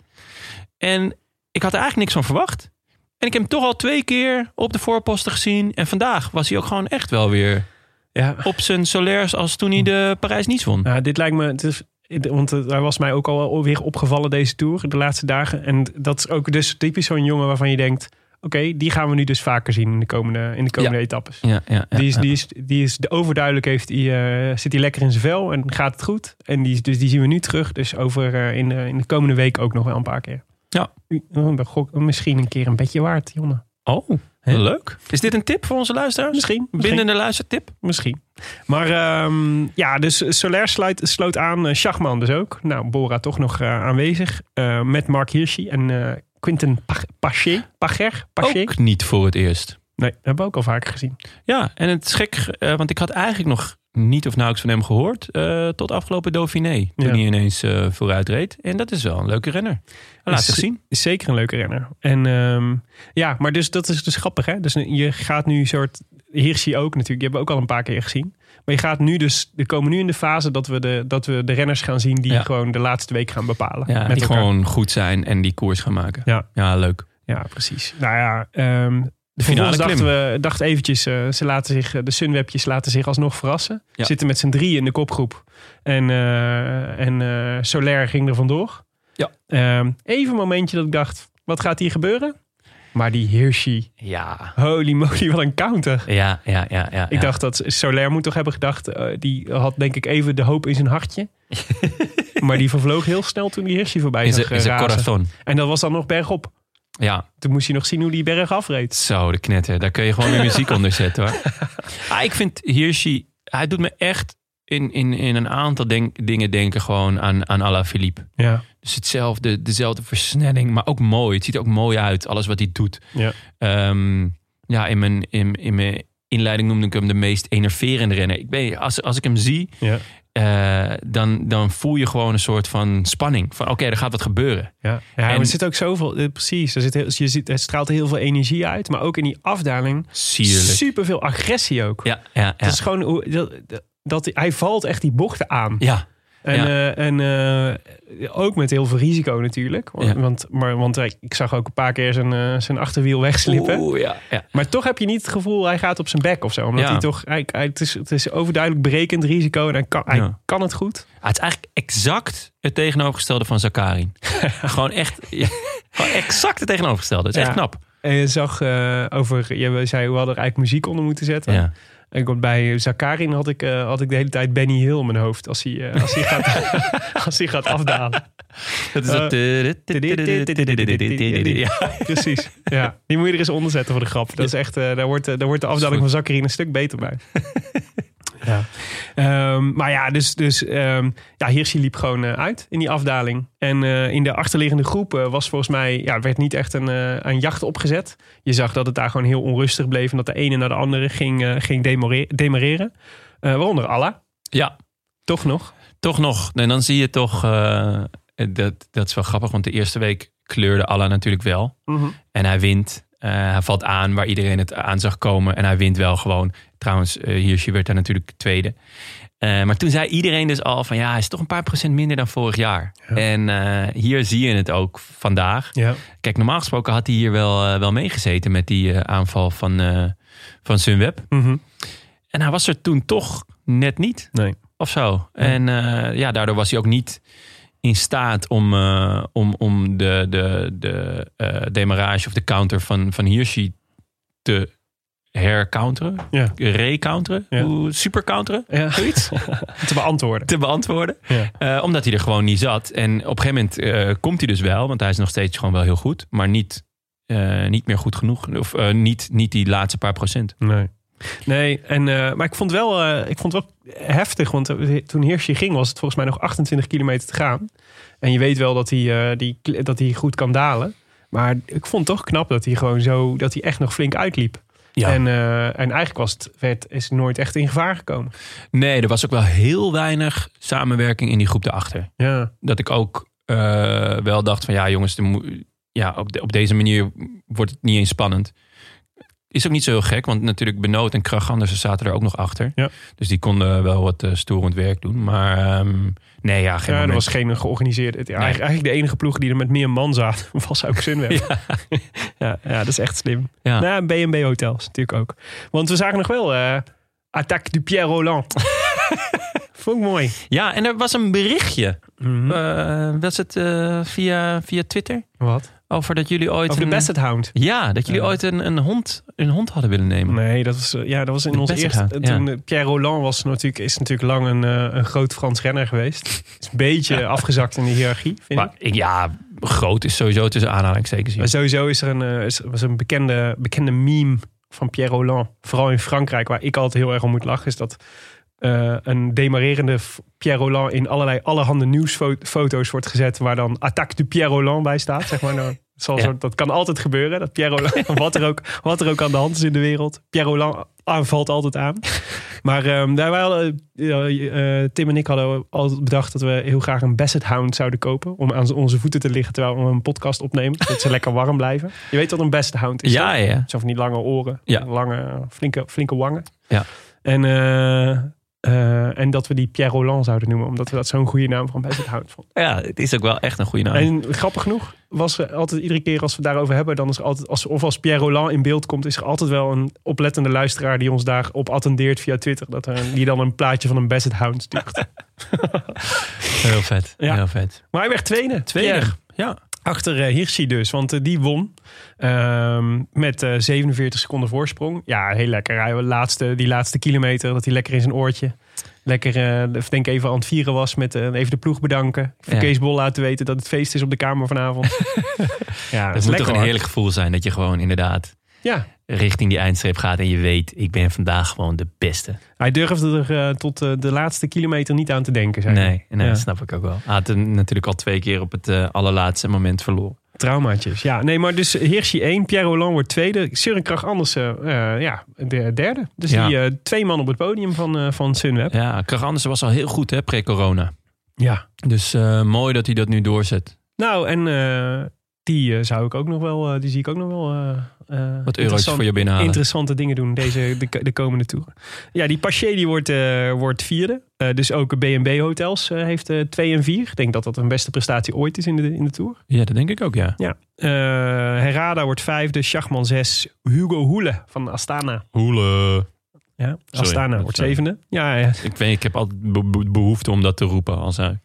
En ik had er eigenlijk niks van verwacht. En ik heb hem toch al twee keer op de voorposten gezien. En vandaag was hij ook gewoon echt wel weer ja. op zijn solairs als toen hij de Parijs-Nice won. Nou, dit lijkt me. Het is, want eh, hij was mij ook al weer opgevallen deze tour, de laatste dagen. En dat is ook dus typisch zo'n jongen waarvan je denkt: oké, die gaan we nu dus vaker zien in de komende, in de komende etappes. Ja, ja, ja, Die is, ja. die is, die is de overduidelijk heeft die, eh, zit hij lekker in zijn vel en gaat het goed. En die, is- dus die zien we nu terug. Dus over eh, in, de, in de komende week ook nog wel een paar keer. Ja. Oh, dat gok- misschien een keer een bedje waard, Jonne. Oh, heel leuk. Is dit een tip voor onze luisteraars? Misschien. misschien. Bindende luistertip? Misschien. Maar ehm, ja, dus Soler sluit, sloot aan. eh, Schachman dus ook. Nou, Bora toch nog eh, aanwezig. eh, met Mark Hirschi en eh Quinten Pach- Paché. Pacher? Paché? Ook niet voor het eerst. Nee, dat hebben we ook al vaker gezien. Ja, en het is gek, eh, want ik had eigenlijk nog niet of nauwelijks van hem gehoord. eh, tot afgelopen Dauphiné, toen Ja. hij ineens eh, vooruit reed. En dat is wel een leuke renner. Hij laat Is- zich zien. Is zeker een leuke renner. En ehm, ja, maar dus dat is dus grappig hè. Dus je gaat nu een soort... Hirschi ook natuurlijk. Die hebben we ook al een paar keer gezien. Maar je gaat nu dus... We komen nu in de fase dat we de, dat we de renners gaan zien... die Ja. gewoon de laatste week gaan bepalen. Ja, die elkaar. gewoon goed zijn en die koers gaan maken. Ja. leuk. Ja, precies. Nou ja, ehm de finale finale dachten klim. we dacht eventjes, eh, ze laten zich, eh, de Sunwebjes laten zich alsnog verrassen. Ja. Zitten met z'n drieën in de kopgroep. En, eh, en eh, Solaire ging er vandoor. Ja. Ehm, even een momentje dat ik dacht, wat gaat hier gebeuren? Maar die Hirschi, Ja. holy moly, wat een counter. Ja, ja, ja. ja Ik dacht dat Solaire moet toch hebben gedacht, eh, die had denk ik even de hoop in zijn hartje. maar die vervloog heel snel toen die Hirschi voorbij in zag zijn- in zijn eh, razen. corazon. En dat was dan nog bergop. Ja, Toen moest hij nog zien hoe die berg afreed. zo, de knetter. Daar kun je gewoon weer muziek onder zetten hoor. Ah, ik vind Hirschi, hij doet me echt in, in, in een aantal denk- dingen denken gewoon aan, aan Alain Philippe. Ja. Dus hetzelfde, dezelfde versnelling, maar ook mooi. Het ziet er ook mooi uit, alles wat hij doet. Ja. Ehm, ja, in mijn, in, in mijn inleiding noemde ik hem de meest enerverende renner. Ik ben, als, als ik hem zie, Ja. eh, dan, dan voel je gewoon een soort van spanning. Van oké, er gaat wat gebeuren. Ja, ja En- maar er zit ook zoveel, eh, precies. Er zit heel, je ziet, het straalt heel veel energie uit, maar ook in die afdaling Sierlijk. super veel agressie ook. Ja, ja, ja. Dat is gewoon hoe dat, dat, dat- hij valt echt die bochten aan. ja. En, ja. eh, en eh, ook met heel veel risico natuurlijk. Want, Ja. want, maar, want hij- ik zag ook een paar keer zijn, eh, zijn achterwiel wegslippen. Oeh, ja, ja. Maar toch heb je niet het gevoel hij gaat op zijn bek of zo. Omdat Ja. hij toch, hij, hij- het, is, het is overduidelijk berekend risico en hij kan, hij Ja. kan het goed. Ah, het is eigenlijk exact het tegenovergestelde van Zakarin. gewoon echt gewoon exact het tegenovergestelde. Het is Ja. echt knap. En je zag eh, over, je zei we hadden er eigenlijk muziek onder moeten zetten. Ja. En ik had bij Zakarin had ik, eh, had ik de hele tijd Benny Hill in mijn hoofd als hij, eh, als hij, gaat, als hij gaat afdalen. Dat is eh, dat... Ja. Precies. Ja. Die moet je er eens onder zetten voor de grap. Dat is echt, eh, daar, wordt, eh, daar wordt de afdaling van Zakarin een stuk beter bij. Ja. Ehm, maar ja, dus, dus ehm ja, Hirschi liep gewoon eh, uit in die afdaling. En eh, in de achterliggende groep eh, was volgens mij, ja, werd niet echt een, eh, een jacht opgezet. Je zag dat het daar gewoon heel onrustig bleef. En dat de ene naar de andere ging, eh, ging demore- demareren. Eh, waaronder Alla. ja, Toch nog? toch nog. En dan zie je toch... eh, dat, dat is wel grappig, want de eerste week kleurde Allah natuurlijk wel. En hij wint. Eh, hij valt aan waar iedereen het aan zag komen. En hij wint wel gewoon. Trouwens, eh Hirschi werd daar natuurlijk tweede. Eh, maar toen zei iedereen dus al van ja, hij is toch een paar procent minder dan vorig jaar. En eh, hier zie je het ook vandaag. Ja. Kijk, normaal gesproken had hij hier wel, eh, wel meegezeten met die eh, aanval van, eh, van Sunweb. Mhm. En hij was er toen toch net niet Nee. of zo. En eh, ja, daardoor was hij ook niet in staat om, eh, om, om de, de, de eh, demarage of de counter van, van Hirschi te hercounteren, Ja. recounteren, Ja. hoe- supercounteren, ja. Zoiets? Te beantwoorden. te beantwoorden. Ja. Eh, omdat hij er gewoon niet zat. En op een gegeven moment eh, komt hij dus wel, want hij is nog steeds gewoon wel heel goed, maar niet, eh, niet meer goed genoeg. Of eh, niet, niet die laatste paar procent. Nee. Nee, en, eh, maar ik vond, wel, eh, ik vond wel heftig. Want eh, toen Hirschi ging, was het volgens mij nog 28 kilometer te gaan. En je weet wel dat hij, eh, die, dat hij goed kan dalen. Maar ik vond toch knap dat hij gewoon zo. dat hij echt nog flink uitliep. Ja. En, eh, en eigenlijk was het, werd, is het nooit echt in gevaar gekomen. Nee, er was ook wel heel weinig samenwerking in die groep daarachter. Ja, dat ik ook eh, wel dacht van ja jongens, er moet- ja, op, de- op deze manier wordt het niet eens spannend. Is ook niet zo heel gek, want natuurlijk Benoot en Kraganders zaten er ook nog achter. Ja. Dus die konden wel wat eh, storend werk doen. Maar ehm, nee, ja, geen ja er moment. was geen georganiseerd. Het, eigenlijk, eigenlijk de enige ploeg die er met meer man zaten, was ook Sunweb. Ja. Ja, dat is echt slim. Ja. Nou, en B&B hotels natuurlijk ook. Want we zagen nog wel eh Attaque du Pierre Roland. Vond ik mooi. Mhm. Ja, en er was een berichtje. Eh, was het eh, via, via Twitter? Wat? Over dat jullie ooit... Over de een- Basset Hound. Ja, dat jullie Ja. ooit een, een, hond, een hond hadden willen nemen. Nee, dat was, eh, ja, dat was in De ons Basset eerste... Hound, ja. Toen eh, Pierre Roland was natuurlijk, is natuurlijk lang een, eh, een groot Frans renner geweest. Is een beetje afgezakt in de hiërarchie, vind ik. Maar ik- ja, groot is sowieso tussen aanhalingstekens. Maar hier. sowieso is er een, eh, is, was een bekende, bekende meme van Pierre Roland. Vooral in Frankrijk, waar ik altijd heel erg om moet lachen, is dat eh, een demarerende F- Pierre Roland in allerlei allerhande nieuwsfoto's wordt gezet, waar dan Attaque du Pierre Roland bij staat. Zeg maar. nou, het zal Ja. zo- dat kan altijd gebeuren. Dat Pierre Roland, wat, er ook, wat er ook aan de hand is in de wereld. Pierre Roland aanvalt altijd aan. Maar ehm, daar wij hadden, eh, eh, Tim en ik hadden altijd bedacht dat we heel graag een Basset Hound zouden kopen. Om aan z- onze voeten te liggen terwijl we een podcast opnemen. dat ze lekker warm blijven. Je weet wat een Basset Hound is. Ja, toch? ja. Zo van die lange oren. Ja. Lange, flinke, flinke wangen. Ja. En eh, Eh, en dat we die Pierre Roland zouden noemen, omdat we dat zo'n goede naam van Best Hout vonden. Ja, het is ook wel echt een goede naam. En grappig genoeg was er altijd iedere keer als we het daarover hebben, dan is er altijd, als, of als Pierre Roland in beeld komt, is er altijd wel een oplettende luisteraar die ons daarop attendeert via Twitter. Dat er, die dan een plaatje van een Basset Hound stuurt. Heel vet. Ja. Heel vet. maar hij werd tweede. Pierre. Tweede. Ja. Achter eh Hirschi dus, want eh, die won ehm, met eh, 47 seconden voorsprong. Ja, heel lekker. Hij, laatste, die laatste kilometer, dat hij lekker in zijn oortje. Lekker, eh, of denk ik even aan het vieren was met eh, even de ploeg bedanken. Even Ja. Kees Bol laten weten dat het feest is op de kamer vanavond. ja, Het is moet lekker, toch een hoor. heerlijk gevoel zijn dat je gewoon inderdaad Ja, richting die eindstreep gaat en je weet, ik ben vandaag gewoon de beste. hij durfde er eh, tot eh, de laatste kilometer niet aan te denken. Zei hij. Nee, nee Ja. dat snap ik ook wel. Hij had hem natuurlijk al twee keer op het eh, allerlaatste moment verloren. Traumaatjes. Ja, nee, maar dus Hirschi 1, Pierre Roland wordt tweede. Søren Kragh Andersen, eh, ja, de derde. Dus Ja. die eh, twee man op het podium van, eh, van Sunweb. Ja, Krach Andersen was al heel goed hè, pre-corona. ja. Dus eh, mooi dat hij dat nu doorzet. Nou, en eh, die eh, zou ik ook nog wel, eh, die zie ik ook nog wel. eh, eh, Wat interessant- eurotjes voor je binnenhalen. Interessante dingen doen deze, de, de komende toeren. Ja, die Paché die wordt, eh, wordt vierde. Eh, dus ook B&B Hotels eh, heeft eh, twee en vier. Ik denk dat dat hun beste prestatie ooit is in de, in de Tour. Ja, dat denk ik ook, ja. Ja. Eh, Herrada wordt vijfde. Schachman zes. Hugo Hoele van Astana. Hoele. Ja, Sorry, Astana dat wordt zei- zevende. Ja, ja. Ik, weet, ik heb altijd be- be- behoefte om dat te roepen als hij,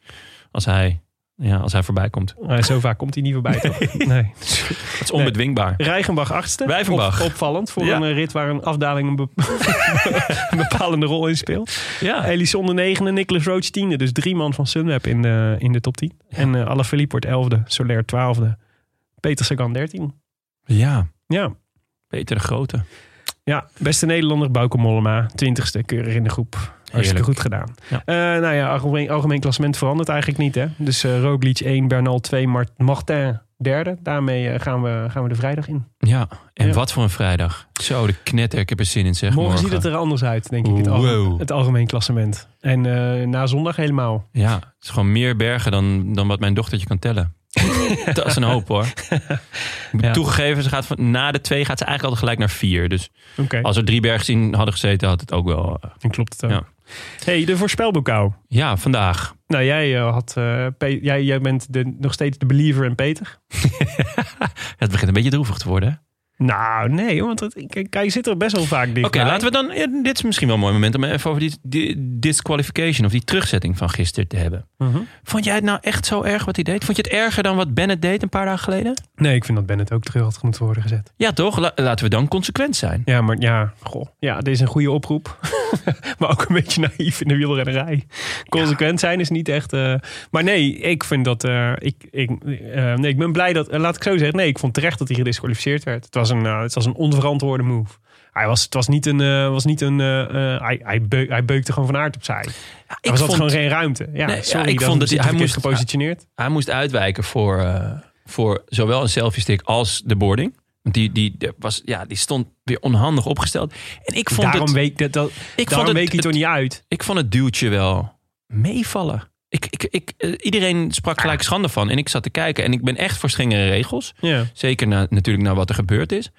als hij, ja, als hij voorbij komt. Eh, zo vaak komt hij niet voorbij. toch? Nee. Het is onbedwingbaar. Reichenbach achtste. Rijgenbach. Op- opvallend voor Ja. een eh, rit waar een afdaling een, be- een bepalende rol in speelt. Ja. Elisonde negende, Nicolas Roach tiende. Dus drie man van Sunweb in de, in de top 10. En eh Alaphilippe wordt elfde, Soler twaalfde, Peter Sagan dertien. ja, Ja. Peter de Grote. ja, beste Nederlander Bauke Mollema, twintigste, keurig in de groep. Hartstikke Heerlijk. goed gedaan. Ja. Eh, nou ja, algemeen, algemeen klassement verandert eigenlijk niet. Hè? Dus eh Roglic 1, Bernal 2, Mart- Martin derde. Daarmee eh, gaan, we, gaan we de vrijdag in. Ja, en Ja. wat voor een vrijdag. Zo, de knetter, ik heb er zin in, zeg. Morgen, ziet het er anders uit, denk ik. Het, algemeen, Wow. het algemeen klassement. En eh, na zondag helemaal. Ja, het is gewoon meer bergen dan, dan wat mijn dochtertje kan tellen. dat is een hoop hoor. Ja. Toegegeven, ze gaat van, na de twee gaat ze eigenlijk altijd gelijk naar vier. Dus Oké, als er drie bergen in hadden gezeten, had het ook wel... eh, dan klopt het ook. Ja. hey, de voorspelbokaal. Ja, vandaag. Nou, jij, eh, had, eh, Pe- jij, jij bent de, nog steeds de believer in Peter. Het begint een beetje droevig te worden. hè? Nou, nee, want het, k- kijk, je zit er best wel vaak dicht Oké, laten we dan... ja, dit is misschien wel een mooi moment om even over die, die disqualification... of die terugzetting van gisteren te hebben. Mhm. Vond jij het nou echt zo erg wat hij deed? Vond je het erger dan wat Bennett deed een paar dagen geleden? Nee, ik vind dat Bennett ook terug had moeten worden gezet. Ja, toch? La- laten we dan consequent zijn. Ja, maar ja, goh. Ja, dit is een goede oproep. maar ook een beetje naïef in de wielrennerij. Consequent zijn is niet echt... eh, maar nee, ik vind dat... eh, ik, ik, eh, nee, ik ben blij dat... eh, laat ik zo zeggen. Nee, ik vond terecht dat hij gedisqualificeerd werd. Het was een, eh, het was een onverantwoorde move. Hij was, het was niet een... eh, was niet een eh, eh, hij, hij, beuk- hij beukte gewoon van aard opzij. ik er was altijd vond- gewoon geen ruimte. Ja, Nee, ja, sorry, ik dat vond dat hij- hij hij moest moest- gepositioneerd. Hij moest uitwijken voor, eh, voor zowel een selfie stick als de boarding. Want die, die, die was, ja, die stond weer onhandig opgesteld. En ik vond, Daarom het, week, dat, dat, ik vond, daarom het, week hij toch het- niet uit. ik vond het duwtje wel meevallen. Ik, ik, ik, eh, iedereen sprak gelijk schande van. En ik zat te kijken. En ik ben echt voor strengere regels. Ja. Zeker na, natuurlijk na wat er gebeurd is.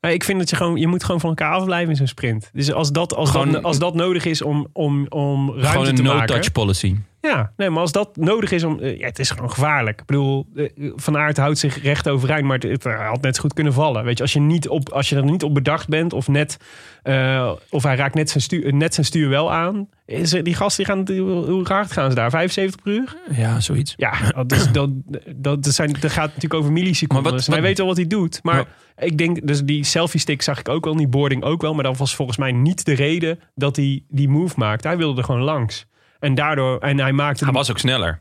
Ja, ik vind dat je gewoon, je moet gewoon van elkaar afblijven in zo'n sprint. Dus als dat, als Gewoon- dat, als dat nodig is om, om, om ruimte Gewoon te een maken. no-touch policy. Ja, nee, maar als dat nodig is om. eh, ja, het is gewoon gevaarlijk. Ik bedoel, eh, Van Aert houdt zich recht overeind, maar het, het eh, had net zo goed kunnen vallen. Weet je, als je, niet op, als je er niet op bedacht bent of net. eh, of hij raakt net zijn stuur, eh, net zijn stuur wel aan. Is, er- die gasten die gaan. Hoe hoe hard gaan ze daar? 75 per uur? Ja, zoiets. Ja, dat, is- dat, Oh, dus dat, dat zijn, dat gaat natuurlijk over milliseconden. Maar wat- Dus hij wat- weet wel wat hij doet. Maar ik denk, dus die selfie stick zag ik ook wel, die boarding ook wel. Maar dat was volgens mij niet de reden dat hij die move maakte. Hij wilde er gewoon langs. En daardoor, en hij maakte. Hij die- was ook sneller.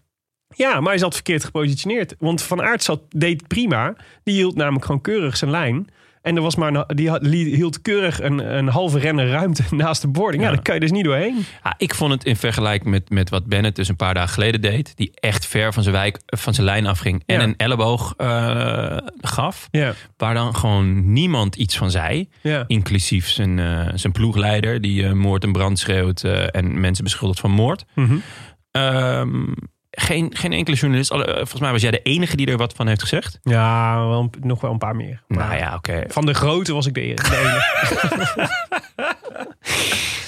Ja, maar hij zat verkeerd gepositioneerd. Want Van Aert zat, deed het prima. Die hield namelijk gewoon keurig zijn lijn. En er was maar een- die had- li- hield keurig een, een halve renner ruimte naast de boarding. Ja, Ja. daar kan je dus niet doorheen. Ja, ik vond het in vergelijking met, met wat Bennett dus een paar dagen geleden deed. Die echt ver van zijn, wijk, van zijn lijn afging. En Ja. een elleboog eh, gaf. Ja, Waar dan gewoon niemand iets van zei. ja. Inclusief zijn, eh, zijn ploegleider. Die eh, moord en brand schreeuwt. eh, en mensen beschuldigt van moord. Mhm. Ehm, geen, geen enkele journalist. alle- eh, volgens mij was jij de enige die er wat van heeft gezegd. ja wel, een- nog wel een paar meer. Maar- Nou ja, oké. Van de grote was ik de, e- de enige.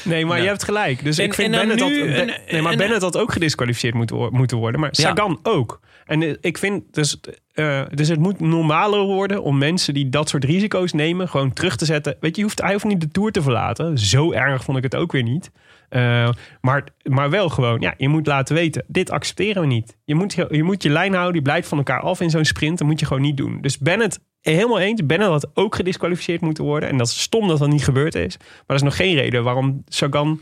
Nee, maar Ja. je hebt gelijk. Dus En- ik vind en dan Bennett had, nu Ben- een- nee, maar een- Bennett had ook gedisqualificeerd moeten, wo- moeten worden. Maar Ja. Sagan ook. En eh, ik vind dus, eh, dus het moet normaler worden om mensen die dat soort risico's nemen gewoon terug te zetten. Weet je, je hoeft, hij hoeft niet de Tour te verlaten. Zo erg vond ik het ook weer niet. Eh, maar, maar wel gewoon, ja, je moet laten weten, dit accepteren we niet. Je moet je, je moet je lijn houden, die blijft van elkaar af in zo'n sprint. Dat moet je gewoon niet doen. Dus Bennett, helemaal eens, Bennett had ook gedisqualificeerd moeten worden. En dat is stom dat dat niet gebeurd is. Maar dat is nog geen reden waarom Sagan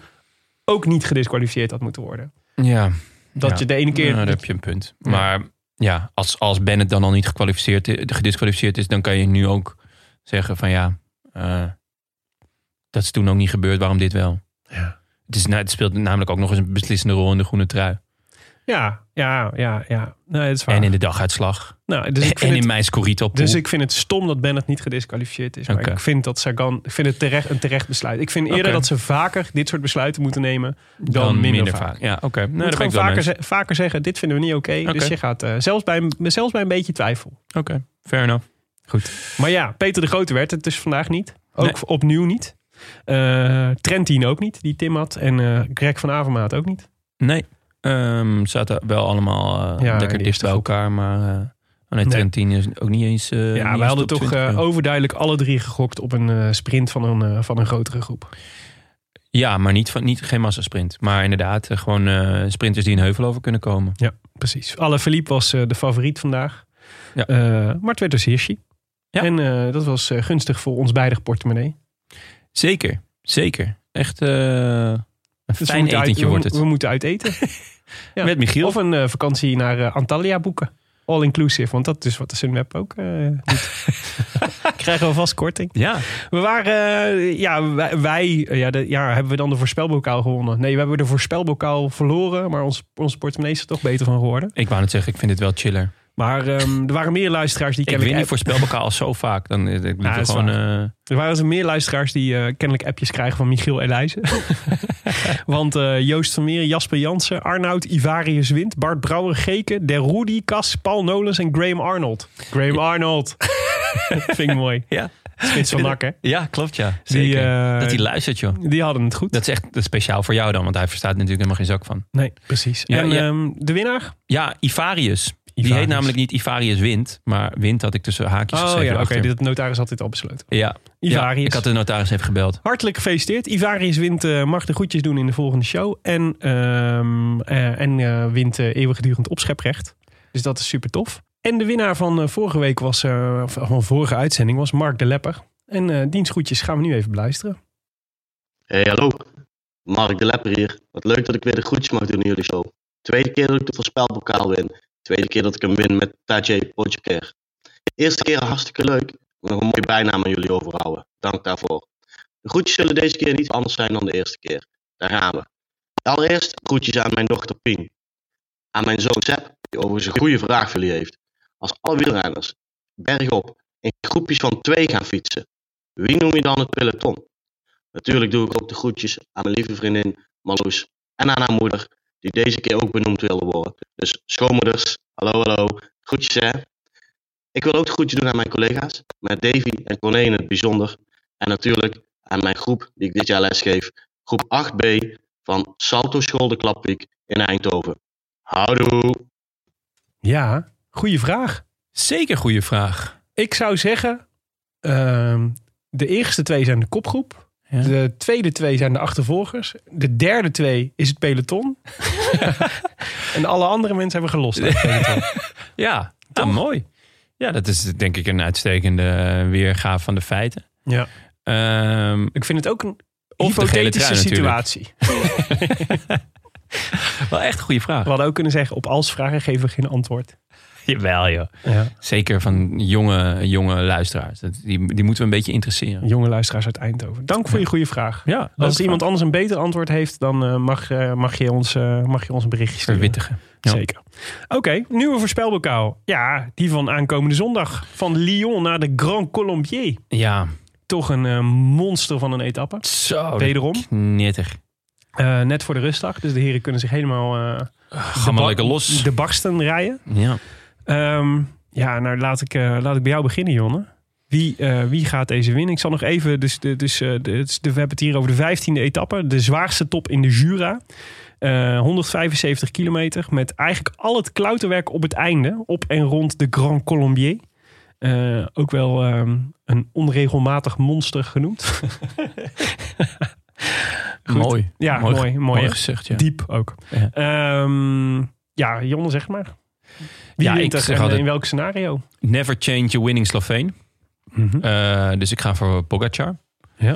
ook niet gedisqualificeerd had moeten worden. Ja. Dat Ja. je de ene keer... Ja, Nou, daar heb je een punt. Maar ja, als, als Bennett dan al niet gekwalificeerd, eh, gedisqualificeerd is, dan kan je nu ook zeggen van ja, eh, dat is toen ook niet gebeurd, waarom dit wel? Het, is, nou, het speelt namelijk ook nog eens een beslissende rol in de groene trui. Ja, ja, ja, ja. Nee, dat is waar. En in de daguitslag. nou, dus ik en vind in het, mijn scorito dus ik vind het stom dat Bennett niet gedisqualificeerd is. Maar Oké. ik vind dat Sagan, ik vind het terecht, een terecht besluit. Ik vind eerder Oké. dat ze vaker dit soort besluiten moeten nemen dan, minder, vaak. Ja, oké. Je Nou, daar moet ben ik gewoon wel mee vaker, eens. ze- vaker zeggen, dit vinden we niet oké. Oké. Dus je gaat, eh, zelfs, bij, een- zelfs bij een beetje twijfel. Oké, fair enough. Maar ja, Peter de Grote werd het dus vandaag niet. Ook Nee. opnieuw niet. Eh Trentin ook niet, die Tim had. En eh, Greg van Avermaat ook niet. Nee, ehm, zaten wel allemaal eh, Ja, lekker die dicht bij is goed. elkaar, maar eh, oh nee, Trentin is ook niet eens... eh, niet ja, eens wij hadden top toch 20, eh, joh. overduidelijk alle drie gegokt op een eh, sprint van een, eh, van een grotere groep. Ja, maar niet van, niet, geen massasprint. Maar inderdaad, eh, gewoon eh, sprinters die een heuvel over kunnen komen. Ja, precies. Alle Philippe was eh, de favoriet vandaag. Ja. Eh, maar het werd dus Hirschi. Ja. En eh, dat was eh, gunstig voor ons beide portemonnee. Zeker, zeker. Echt eh, een Dus we fijn moeten uit- etentje we, wordt het. We moeten uit eten. ja. Met Michiel. Of een eh, vakantie naar eh, Antalya boeken. All inclusive, want dat is wat de Sunweb ook eh, doet. Krijgen we vast korting. ja, We waren, eh, ja, wij, wij, eh, ja, de- ja, hebben we dan de voorspelbokaal gewonnen? Nee, we hebben de voorspelbokaal verloren, maar ons, ons portemonnee is er toch beter van geworden. ik wou net zeggen, ik vind het wel chiller. Maar ehm, er waren meer luisteraars die Ik kennelijk... win die app- voorspelbokaal zo vaak. Dan eh, ik Ja, liever dat is gewoon... eh, Er waren meer luisteraars die eh, kennelijk appjes krijgen van Michiel Elijzen. Want eh, Joost Vermeer, Jasper Jansen, Arnoud, Ivarius Wind, Bart Brouwer, Geke, Der Rudy, Cas, Paul Nolens en Graham Arnold. Graham Arnold. Vind ik mooi. ja. Spits van Nak, hè? ja, klopt ja. Zeker. eh, dat hij luistert joh. Die hadden het goed. Dat is echt dat is speciaal voor jou dan, want hij verstaat er natuurlijk helemaal geen zak van. Nee, precies. Ja, en ja. ehm, de winnaar? Ja, Ivarius. Die Ivarius. heet namelijk niet Ivarius Wind, maar Wind had ik tussen haakjes Oh geschreven ja, oké. achter. dit notaris had dit al besloten. Ja, Ivarius. Ja, ik had de notaris even gebeld. Hartelijk gefeliciteerd. Ivarius wint, eh, mag de groetjes doen in de volgende show. En, ehm, eh, en eh, wint eh, eeuwigdurend opscheprecht. Dus dat is super tof. En de winnaar van eh, vorige week was, eh, of van vorige uitzending was Mark de Lepper. En eh diens groetjes gaan we nu even beluisteren. Hey, hallo. Mark de Lepper hier. Wat leuk dat ik weer de groetjes mag doen in jullie show. Tweede keer dat ik de voorspelbokaal win. Tweede keer dat ik hem win met Tajay Potjeker. Eerste keer hartstikke leuk. Ik wil Nog een mooie bijnaam aan jullie overhouden. Dank daarvoor. De groetjes zullen deze keer niet anders zijn dan de eerste keer. Daar gaan we. Allereerst groetjes aan mijn dochter Pien. Aan mijn zoon Sepp, die overigens een goede vraag voor jullie heeft. Als alle wielrenners bergop in groepjes van twee gaan fietsen, wie noem je dan het peloton? Natuurlijk doe ik ook de groetjes aan mijn lieve vriendin Marloes en aan haar moeder, die deze keer ook benoemd wilde worden. Dus schoonmoeders, hallo hallo, groetjes hè. Ik wil ook de groetjes doen aan mijn collega's, met Davy en Corné in het bijzonder. En natuurlijk aan mijn groep die ik dit jaar lesgeef, groep 8B van Salto School de Klapwiek in Eindhoven. Houdoe! Ja, goede vraag. Zeker goede vraag. Ik zou zeggen, ehm, de eerste twee zijn de kopgroep. Ja. De tweede twee zijn de achtervolgers. De derde twee is het peloton. en alle andere mensen hebben gelost. uit het peloton. Ja, nou, mooi. Ja, dat is denk ik een uitstekende eh, weergave van de feiten. Ja. Ehm, Ik vind het ook een Of de gele hypothetische trui natuurlijk. situatie. wel echt een goede vraag. We hadden ook kunnen zeggen, op als vragen geven we geen antwoord. Jawel joh. Ja. Zeker van jonge, jonge luisteraars. Dat- Die, die moeten we een beetje interesseren. Jonge luisteraars uit Eindhoven. Dank voor je goede vraag. Ja, dat Als iemand anders een beter antwoord heeft, dan eh, mag, eh, mag, je ons, eh, mag je ons een berichtje sturen. verwittigen. Ja. Zeker. Oké, nieuwe voorspelbokaal. Ja, die van aankomende zondag. Van Lyon naar de Grand Colombier. Ja, Toch een eh, monster van een etappe. zo. dat Wederom. Knittig. Eh, net voor de rustdag. Dus de heren kunnen zich helemaal... eh, Ga de maar ba- lekker los. De barsten rijden. Ja. Ehm, ja, nou laat ik, eh, laat ik bij jou beginnen, Jonne. Wie, eh, wie gaat deze winnen? Ik zal nog even. Dus, de- dus, eh, de- het is de- we hebben het hier over de 15e etappe. De zwaarste top in de Jura. Eh, 175 kilometer. Met eigenlijk al het klauterwerk op het einde. Op en rond de Grand Colombier. Eh, ook wel ehm, een onregelmatig monster genoemd. Goed. Mooi. Ja, mooi, mooi, mooi, hè? gezegd. Ja. Diep ook. Ja. Ja, ja Jonne, zeg maar. Wie Ja, wint ik dat zeg en eh, altijd- in welk scenario? Never change your winning Sloveen. Eh, dus ik ga voor Pogacar. Ja.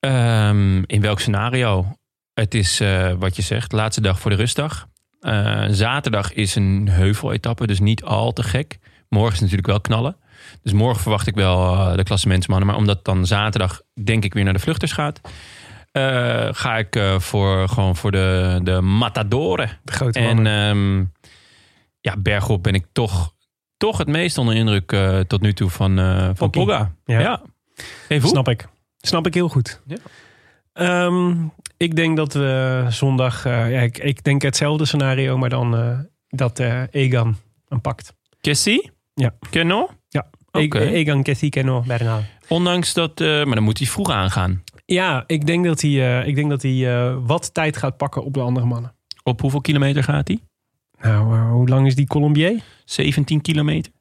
Ehm, in welk scenario? Het is eh, wat je zegt, laatste dag voor de rustdag. Eh, zaterdag is een heuveletappe, dus niet al te gek. Morgen is natuurlijk wel knallen. Dus morgen verwacht ik wel eh, de klassementsmannen. Maar omdat dan zaterdag denk ik weer naar de vluchters gaat... eh, ga ik eh, voor, gewoon voor de, de matadoren. De grote En mannen. ehm, ja, bergop ben ik toch, toch het meest onder indruk eh, tot nu toe van, eh van, Pocky. Pogga. Ja. Ja. Hey, Voel? Snap ik. Snap ik heel goed. Ja. Ehm, ik denk dat we zondag... eh, ja, ik, ik denk hetzelfde scenario, maar dan eh, dat eh, Egan hem pakt. Kessie? Ja. Keno? Ja. Oké. E- Egan Kethikeno Bernal. Ondanks dat, eh, maar dan moet hij vroeg aangaan. Ja, ik denk dat hij, eh, ik denk dat hij eh, wat tijd gaat pakken op de andere mannen. Op hoeveel kilometer gaat hij? Nou, eh, hoe lang is die Colombier? 17 kilometer.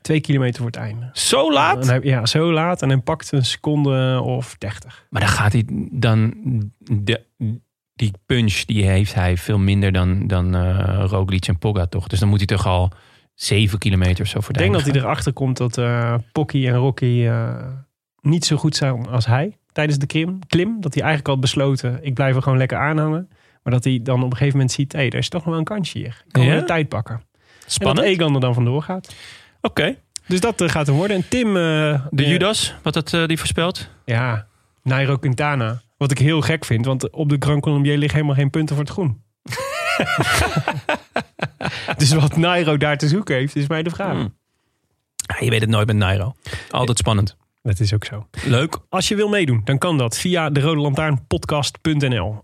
Twee kilometer voor het einde. Zo En laat? hij- ja, zo laat. En hij pakt een seconde of dertig. Maar dan gaat hij dan... De, die punch die heeft hij veel minder dan, dan eh Roglic en Pogga toch? Dus dan moet hij toch al 7 kilometer of zo voor Ik denk dat hij erachter komt dat eh Pocky en Rocky eh, niet zo goed zijn als hij tijdens de klim, klim. Dat hij eigenlijk had besloten, ik blijf er gewoon lekker aanhangen. Maar dat hij dan op een gegeven moment ziet, hé, hey, er is toch nog wel een kansje hier. Ik kan Ja? wel tijd pakken. Spannend. En Oké. dat Egan er dan vandoor gaat. Dus dat eh, gaat hem worden. En Tim... eh, De eh, Judas, wat dat, eh, die voorspelt? Ja, Nairo Quintana. Wat ik heel gek vind, want op de Grand Colombier liggen helemaal geen punten voor het groen. dus wat Nairo daar te zoeken heeft, is mij de vraag. Hmm. Ja, je weet het nooit met Nairo. Altijd spannend. Dat is ook zo. Leuk. Als je wil meedoen, dan kan dat via de Rode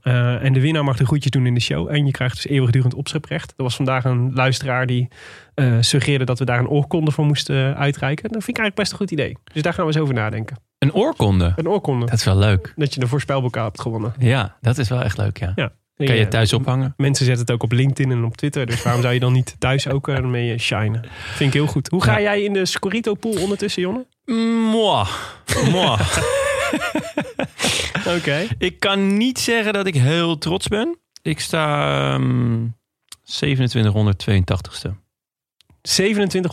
Eh, en de winnaar mag de groetjes doen in de show. En je krijgt dus eeuwigdurend opscheprecht. Er was vandaag een luisteraar die eh, suggereerde dat we daar een oorkonde voor moesten eh, uitreiken. Dat vind ik eigenlijk best een goed idee. Dus daar gaan we eens over nadenken. Een oorkonde. Een oorkonde. Dat, Dat is wel leuk. je de voorspelbokaal hebt gewonnen. Ja, dat is wel echt leuk, ja. Kan Ja. je thuis ophangen? Mensen zetten het ook op LinkedIn en op Twitter. Dus waarom zou je dan niet thuis ook eh, mee eh, shinen? Vind ik heel goed. Hoe ga Ja. jij in de Scorito pool ondertussen, Jonne? Moi. Moi. Oké. ik kan niet zeggen dat ik heel trots ben. Ik sta ehm 2782ste. 2782ste.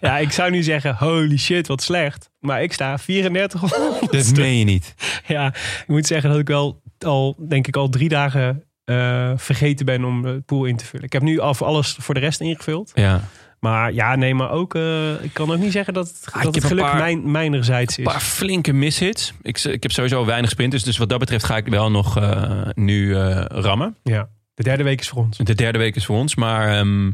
ja. ik zou nu zeggen, holy shit, wat slecht. Maar ik sta 3400. Dat meen je niet. Ja, ik moet zeggen dat ik wel al, denk ik, al drie dagen eh, vergeten ben om de pool in te vullen. Ik heb nu af alles voor de rest ingevuld. Ja. Maar ja, nee, maar ook, eh, ik kan ook niet zeggen dat, het- Ah, ik dat heb het een geluk paar- mijn, mijnerzijds Een is. paar flinke mishits. Ik, z- ik heb sowieso weinig sprinters. Dus wat dat betreft ga ik wel nog eh, nu eh, rammen. Ja, de derde week is voor ons. De derde week is voor ons. Maar ehm,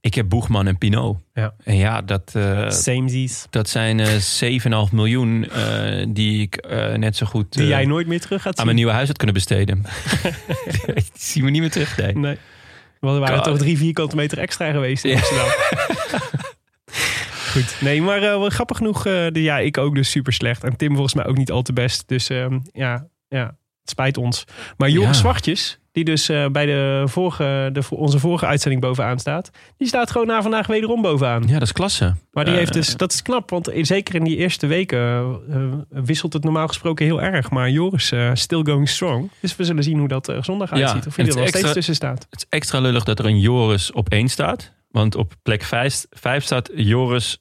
ik heb Boegman en Pinot. Ja. En ja, dat... eh, Samesies. Dat zijn eh 7,5 miljoen eh, die ik eh, net zo goed Die eh, jij nooit meer terug gaat aan zien. mijn nieuwe huis had kunnen besteden. Die zien we niet meer terug. Nee. Nee. Want er waren God. toch drie vierkante meter extra geweest in Amsterdam. Goed. Nee, maar eh, wel grappig genoeg. eh, de, ja, ik ook dus super slecht. En Tim volgens mij ook niet al te best. Dus ehm, ja, ja, het spijt ons. Maar Joris Ja. Zwartjes, die dus eh, bij de vorige, de, onze vorige uitzending bovenaan staat. Die staat gewoon na vandaag wederom bovenaan. Ja, dat is klasse. Maar die Eh, heeft dus, dat is knap, want in- zeker in die eerste weken eh, eh, wisselt het normaal gesproken heel erg. Maar Joris, eh, still going strong. Dus we zullen zien hoe dat er zondag uitziet. Of wie en het er nog steeds extra- tussen staat. Het is extra lullig dat er een Joris op één staat. Want op plek 5 staat Joris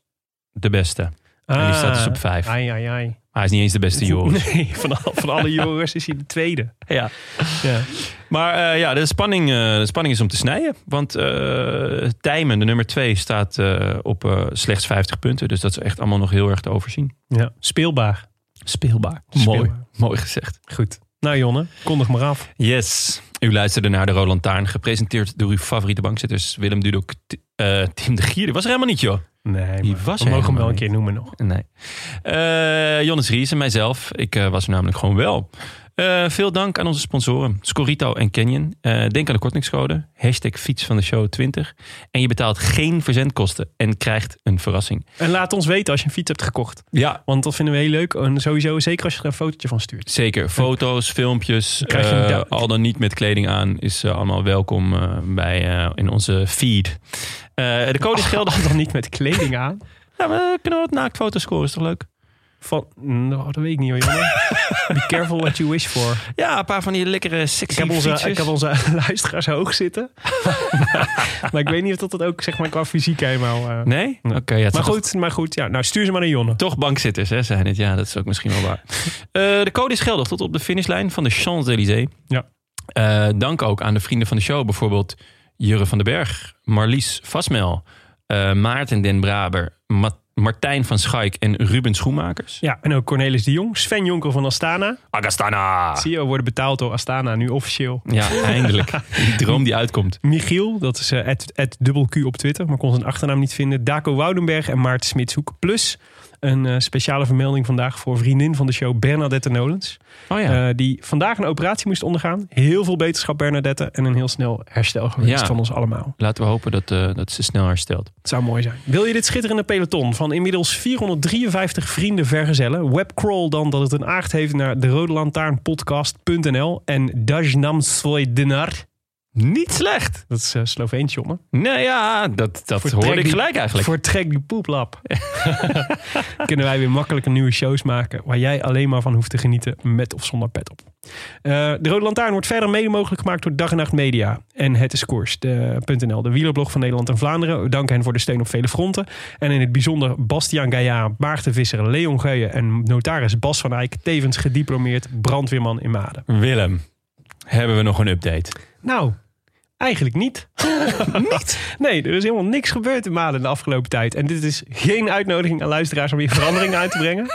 de beste. En die staat dus op 5. Maar Ah, Ai, ai, ai. hij is niet eens de beste Joris. Nee, van, al- van alle Joris is hij de tweede. Ja. Ja. Maar eh, ja, de spanning, eh, de spanning is om te snijden. Want eh Tijmen, de nummer 2, staat eh, op eh, slechts 50 punten. Dus dat is echt allemaal nog heel erg te overzien. ja. Speelbaar. Speelbaar. Mooi. Speelbaar. Mooi gezegd. Goed. Nou Jonne, kondig maar af. Yes. U luisterde naar de Roland Taarn, gepresenteerd door uw favoriete bankzitters Willem Dudok, T- eh, Tim de Gier. Die was er helemaal niet, joh. Nee, Die maar was we er mogen hem wel helemaal een keer noemen nog. Nee. Eh Jonas Ries en mijzelf. Ik eh, was er namelijk gewoon wel. Eh, Eh, veel dank aan onze sponsoren, Scorito en Canyon. Eh, denk aan de kortingscode, hashtag fiets van de show 20. En je betaalt geen verzendkosten en krijgt een verrassing. En laat ons weten als je een fiets hebt gekocht. Ja, Want dat vinden we heel leuk. En sowieso, zeker als je er een fotootje van stuurt. zeker. Foto's, filmpjes, Krijg je eh, een duik. al dan niet met kleding aan, is eh, allemaal welkom eh, bij, eh, in onze feed. Eh, de code is geldig. Oh. Dan niet met kleding aan. Ja, maar eh, kunnen we wat naaktfoto's scoren, is toch leuk? Van, nou, dat weet ik niet hoor, jongen. Be careful what you wish for. Ja, een paar van die lekkere Ik sexy heb onze, fietsjes. ik heb onze luisteraars hoog zitten. maar ik weet niet of dat, dat ook zeg maar, qua fysiek helemaal... eh, Nee? Oké, ja, het maar, zal toch- goed, maar goed, ja. Nou, stuur ze maar naar Jonne. Toch bankzitters, hè, zijn het. Ja, dat is ook misschien wel waar. Eh, de code is geldig tot op de finishlijn van de Champs-Élysées. Ja. Eh, dank ook aan de vrienden van de show. Bijvoorbeeld Jurre van den Berg, Marlies Vasmel, eh, Maarten den Braber, Ma- Martijn van Schaik en Ruben Schoenmakers. Ja, en ook Cornelis de Jong. Sven Jonker van Astana. Agastana! CEO worden betaald door Astana, nu officieel. Ja, eindelijk. Die droom die uitkomt. Michiel, dat is eh, het dubbel Q op Twitter, maar kon zijn achternaam niet vinden. Daco Woudenberg en Maarten Smitshoek. Plus een eh, speciale vermelding vandaag voor vriendin van de show Bernadette Nolens. Oh ja. Eh, die vandaag een operatie moest ondergaan. Heel veel beterschap Bernadette en een heel snel herstel gewenst Ja. van ons allemaal. Laten we hopen dat, eh, dat ze snel herstelt. Het zou mooi zijn. Wil je dit schitterende peloton van inmiddels 453 vrienden vergezellen? Webcrawl dan dat het een aard heeft naar de Rode Lantaarnpodcast.nl en Dajnam Svoj Dinar. Niet slecht. Dat is eh, Sloveens, jongen. Nee, ja, dat, dat Vertrek hoorde ik die- gelijk eigenlijk. Voor Trek die Poeplap. Kunnen wij weer makkelijk nieuwe shows maken waar jij alleen maar van hoeft te genieten met of zonder pet op. Eh, de Rode Lantaarn wordt verder mede mogelijk gemaakt door Dag en Nacht Media en Het is Koers, de, .nl, de wielerblog van Nederland en Vlaanderen. We danken hen voor de steun op vele fronten. En in het bijzonder Bastiaan Gaillard, Maarten Visser, Leon Geuyen en notaris Bas van Eyck, tevens gediplomeerd brandweerman in Maden. Willem, hebben we nog een update? Nou, eigenlijk niet. niet? Nee, er is helemaal niks gebeurd in Maden de afgelopen tijd. En dit is geen uitnodiging aan luisteraars om hier verandering uit te brengen.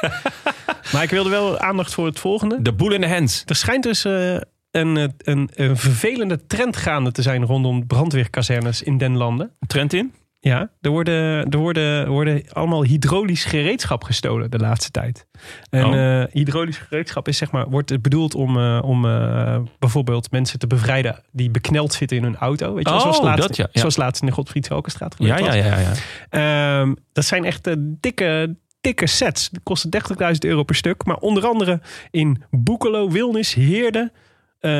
Maar ik wilde wel aandacht voor het volgende. De boel in de hands. Er schijnt dus eh, een, eh, een, een vervelende trend gaande te zijn rondom brandweerkazernes in den landen. Trent in? Ja, er worden, er worden, worden allemaal hydraulisch gereedschap gestolen de laatste tijd. En Oh. eh, hydraulisch gereedschap is zeg maar, wordt bedoeld om, eh, om eh, bijvoorbeeld mensen te bevrijden die bekneld zitten in hun auto. Weet je, wel, Oh, zoals, laatst, dat ja, ja. zoals laatst in de Godfried Halkenstraat Ja, ja, ja, ja. Ehm, dat zijn echt eh, dikke, dikke sets. Die kosten 30.000 euro per stuk. Maar onder andere in Boekelo, Wilnis, Heerde, eh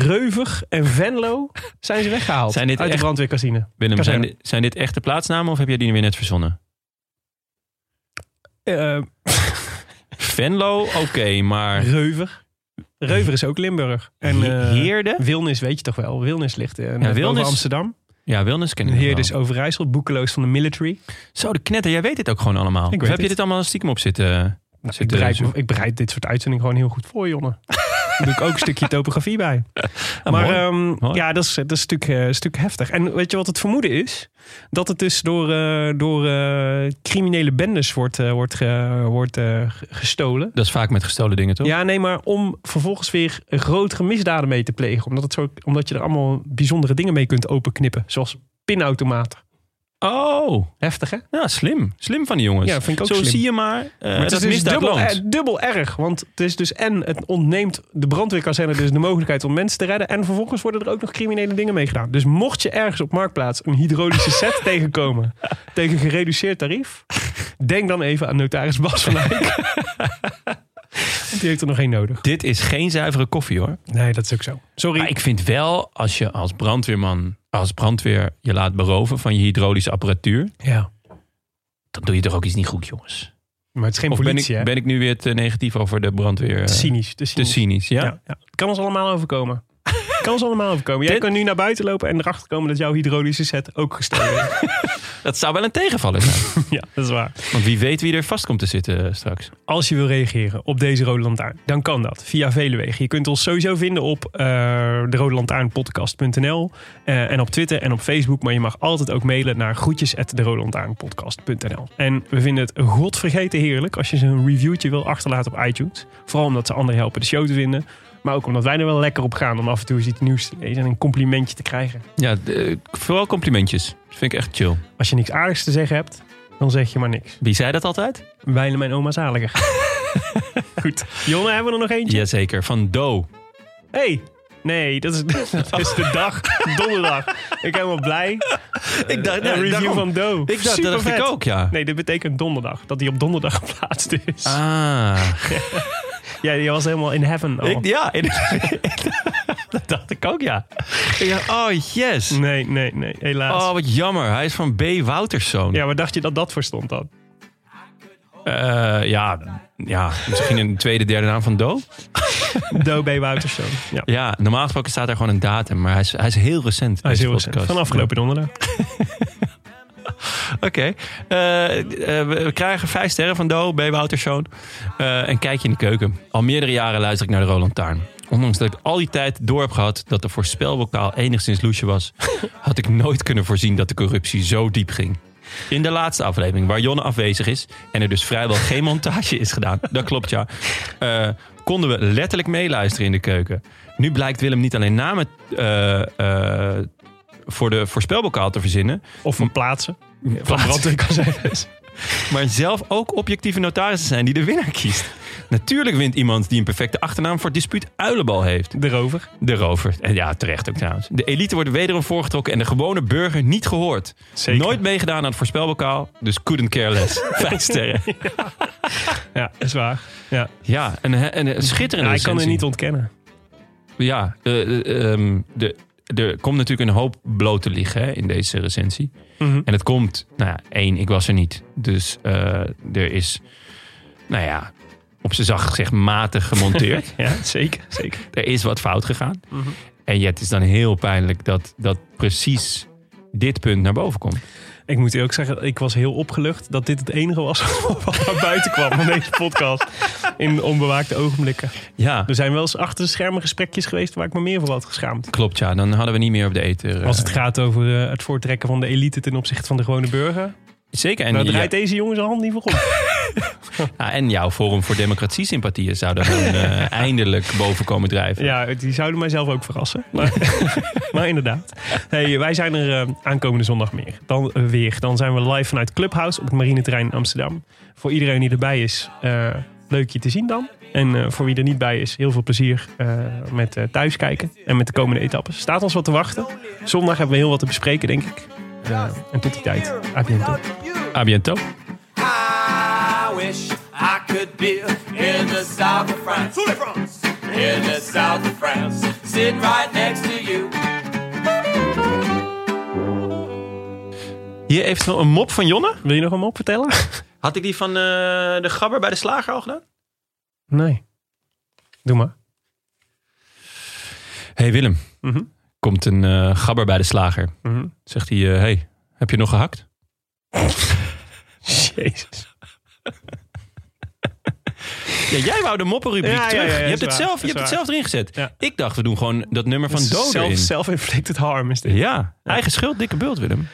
Reuvig en Venlo zijn ze weggehaald. Zijn dit uit echt- de brandweercasine. Willem, zijn, Kazerne. di- zijn dit echte plaatsnamen of heb jij die weer net verzonnen? Eh, Venlo, oké, maar Reuver. Reuver is ook Limburg. En eh, Heerde? Wilnis weet je toch wel. Wilnis ligt eh, net Wilnis- boven Amsterdam. Ja, Wilnis ken ik nog Heerde wel. is Overijssel. Boekeloos van de military. Dus Zo, de knetter, jij weet dit ook gewoon allemaal. Ik of weet heb je het. dit allemaal stiekem op zitten? Nou, ik, Zit er bereid, zo- ik bereid dit soort uitzendingen gewoon heel goed voor, jongen. Daar doe ik ook een stukje topografie bij. Ah, maar mooi. ehm, Mooi. ja, dat is, dat is natuurlijk, eh, een stuk heftig. En weet je wat het vermoeden is? Dat het dus door, eh, door eh, criminele bendes wordt, eh, wordt, ge- wordt eh, ge- gestolen. dat is vaak met gestolen dingen, toch? Ja, nee, maar om vervolgens weer grotere misdaden mee te plegen. Omdat, het zo, omdat je er allemaal bijzondere dingen mee kunt openknippen. Zoals pinautomaten. Oh, Heftig, hè? Maar ja, slim. Slim van die jongens. Ja, vind ik ook Zo slim. zie je maar, eh het dat is dus misdaad dubbel, loont. eh, dubbel erg. Want het is dus en het ontneemt de brandweerkazerne dus de mogelijkheid om mensen te redden. En vervolgens worden er ook nog criminele dingen mee gedaan. Dus mocht je ergens op Marktplaats een hydraulische set tegenkomen. tegen gereduceerd tarief. denk dan even aan notaris Bas van Eyck. Want die heeft er nog geen nodig. Dit is geen zuivere koffie, hoor. Nee, dat is ook zo. Sorry. Maar ik vind wel, als je als brandweerman, als brandweer je laat beroven van je hydraulische apparatuur, Ja. dan doe je toch ook iets niet goed, jongens. Maar het is geen Of ben politie, ik, ben ik nu weer te negatief over de brandweer? eh, hè? Cynisch. Te Te cynisch. cynisch, ja? Ja, ja. Het kan ons allemaal overkomen. Het kan ons allemaal overkomen. Jij Dit- kan nu naar buiten lopen en erachter komen dat jouw hydraulische set ook gestolen is. Dat zou wel een tegenvaller zijn. ja, dat is waar. Want wie weet wie er vast komt te zitten eh, straks. Als je wil reageren op deze Rode Lantaarn, dan kan dat via vele wegen. Je kunt ons sowieso vinden op eh de Rode eh, en op Twitter en op Facebook. Maar je mag altijd ook mailen naar groetjes at En we vinden het godvergeten heerlijk als je ze een reviewtje wil achterlaten op iTunes. Vooral omdat ze anderen helpen de show te vinden. Maar ook omdat wij er wel lekker op gaan om af en toe eens iets nieuws te lezen en een complimentje te krijgen. Ja, d- eh, vooral complimentjes. Dat vind ik echt chill. Als je niks aardigs te zeggen hebt, dan zeg je maar niks. Wie zei dat altijd? Wijlen mijn oma zaliger. Goed. Jonne, hebben we er nog eentje? Jazeker, van Do. Hey. Nee, dat is, dat is de dag. Donderdag. Ik ben helemaal blij. Ik dacht, Eh, Een review daarom. van Do. Ik dacht, dat dacht ik Supervet. ook, ja. Nee, dit betekent donderdag. Dat die op donderdag geplaatst is. Ah, Ja, die was helemaal in heaven al. ik, ja. dat dacht ik ook, ja. Ik dacht, oh, yes. Nee, nee, nee. Helaas. Oh, wat jammer. Hij is van B. Wouterszoon. Ja, maar dacht je dat dat verstond dan? Eh, ja, ja, misschien een tweede, derde naam van Do. Do B. Wouterszoon. Ja. Ja, normaal gesproken staat daar gewoon een datum, maar hij is, hij is heel recent. Hij is deze heel recent. podcast. Van afgelopen donderdag. Ja. Oké. Eh, eh, we we krijgen vijf sterren van Do, B. Wouterszoon. Eh een kijkje in de keuken. Al meerdere jaren luister ik naar de Roland Taarn. Ondanks dat ik al die tijd door heb gehad dat de voorspelbokaal enigszins loesje was, had ik nooit kunnen voorzien dat de corruptie zo diep ging. In de laatste aflevering, waar Jonne afwezig is en er dus vrijwel geen montage is gedaan, dat klopt ja, eh, konden we letterlijk meeluisteren in de keuken. Nu blijkt Willem niet alleen namen eh, eh, voor de voorspelbokaal te verzinnen, Of van plaatsen. Van Plaatsen. brandweerkazijnes. maar zelf ook objectieve notarissen zijn die de winnaar kiest. Natuurlijk wint iemand die een perfecte achternaam voor het dispuut Uilenbal heeft. De rover. De rover. En ja, terecht ook trouwens. De elite wordt wederom voorgetrokken en de gewone burger niet gehoord. Zeker. Nooit meegedaan aan het voorspelbokaal, dus couldn't care less. Vijf sterren. Ja, is waar. Ja. Ja, een, een, een eh, schitterende Ja, ik kan het recensie. niet ontkennen. Ja, eh, eh, ehm, de, er komt natuurlijk een hoop bloot te liggen hè, in deze recensie. Mhm. En het komt, nou ja, één, ik was er niet. Dus eh, er is, nou ja, op zijn zacht gezegd matig gemonteerd. Ja, zeker. zeker. er is wat fout gegaan. En ja, het is dan heel pijnlijk dat, dat precies dit punt naar boven komt. Ik moet ook zeggen, ik was heel opgelucht dat dit het enige was wat naar buiten kwam van deze podcast. In onbewaakte ogenblikken. Ja, Er zijn wel eens achter de schermen gesprekjes geweest waar ik me meer voor had geschaamd. klopt ja. Dan hadden we niet meer op de ether. eh, Als het gaat over eh, het voortrekken van de elite ten opzichte van de gewone burger. Zeker. En, Nou ja, draait deze jongen zijn hand niet voor op. ah, en jouw Forum voor Democratie sympathieën zou dan eh, eindelijk boven komen drijven. Ja, die zouden mijzelf ook verrassen. Maar, maar inderdaad. Hey, wij zijn er eh, aankomende zondag meer. Dan, eh, weer. Dan zijn we live vanuit Clubhouse op het Marineterrein in Amsterdam. Voor iedereen die erbij is, eh, leuk je te zien dan. En eh, voor wie er niet bij is, heel veel plezier eh, met eh, thuiskijken. En met de komende etappes. Staat ons wat te wachten. Zondag hebben we heel wat te bespreken, denk ik. Eh, en tot die tijd. A bientôt. A bientôt. I wish I could be in the south of France. In the south of France, sitting right next to you. Hier eventueel een mop van Jonne. Wil je nog een mop vertellen? Had ik die van eh, de gabber bij de slager al gedaan? Nee. Doe maar. hey Willem, Mhm. komt een eh, gabber bij de slager. Mhm. Zegt hij, eh, hey, heb je nog gehakt? Jezus. Ja, jij wou de moppenrubriek Ja, ja, terug. ja, ja, je hebt, is het waar, zelf, je is hebt het waar. zelf erin gezet. Ja. Ik dacht, we doen gewoon dat nummer van Dodo Self- in. Self-inflicted harm is dit. Ja, eigen schuld, dikke bult Willem.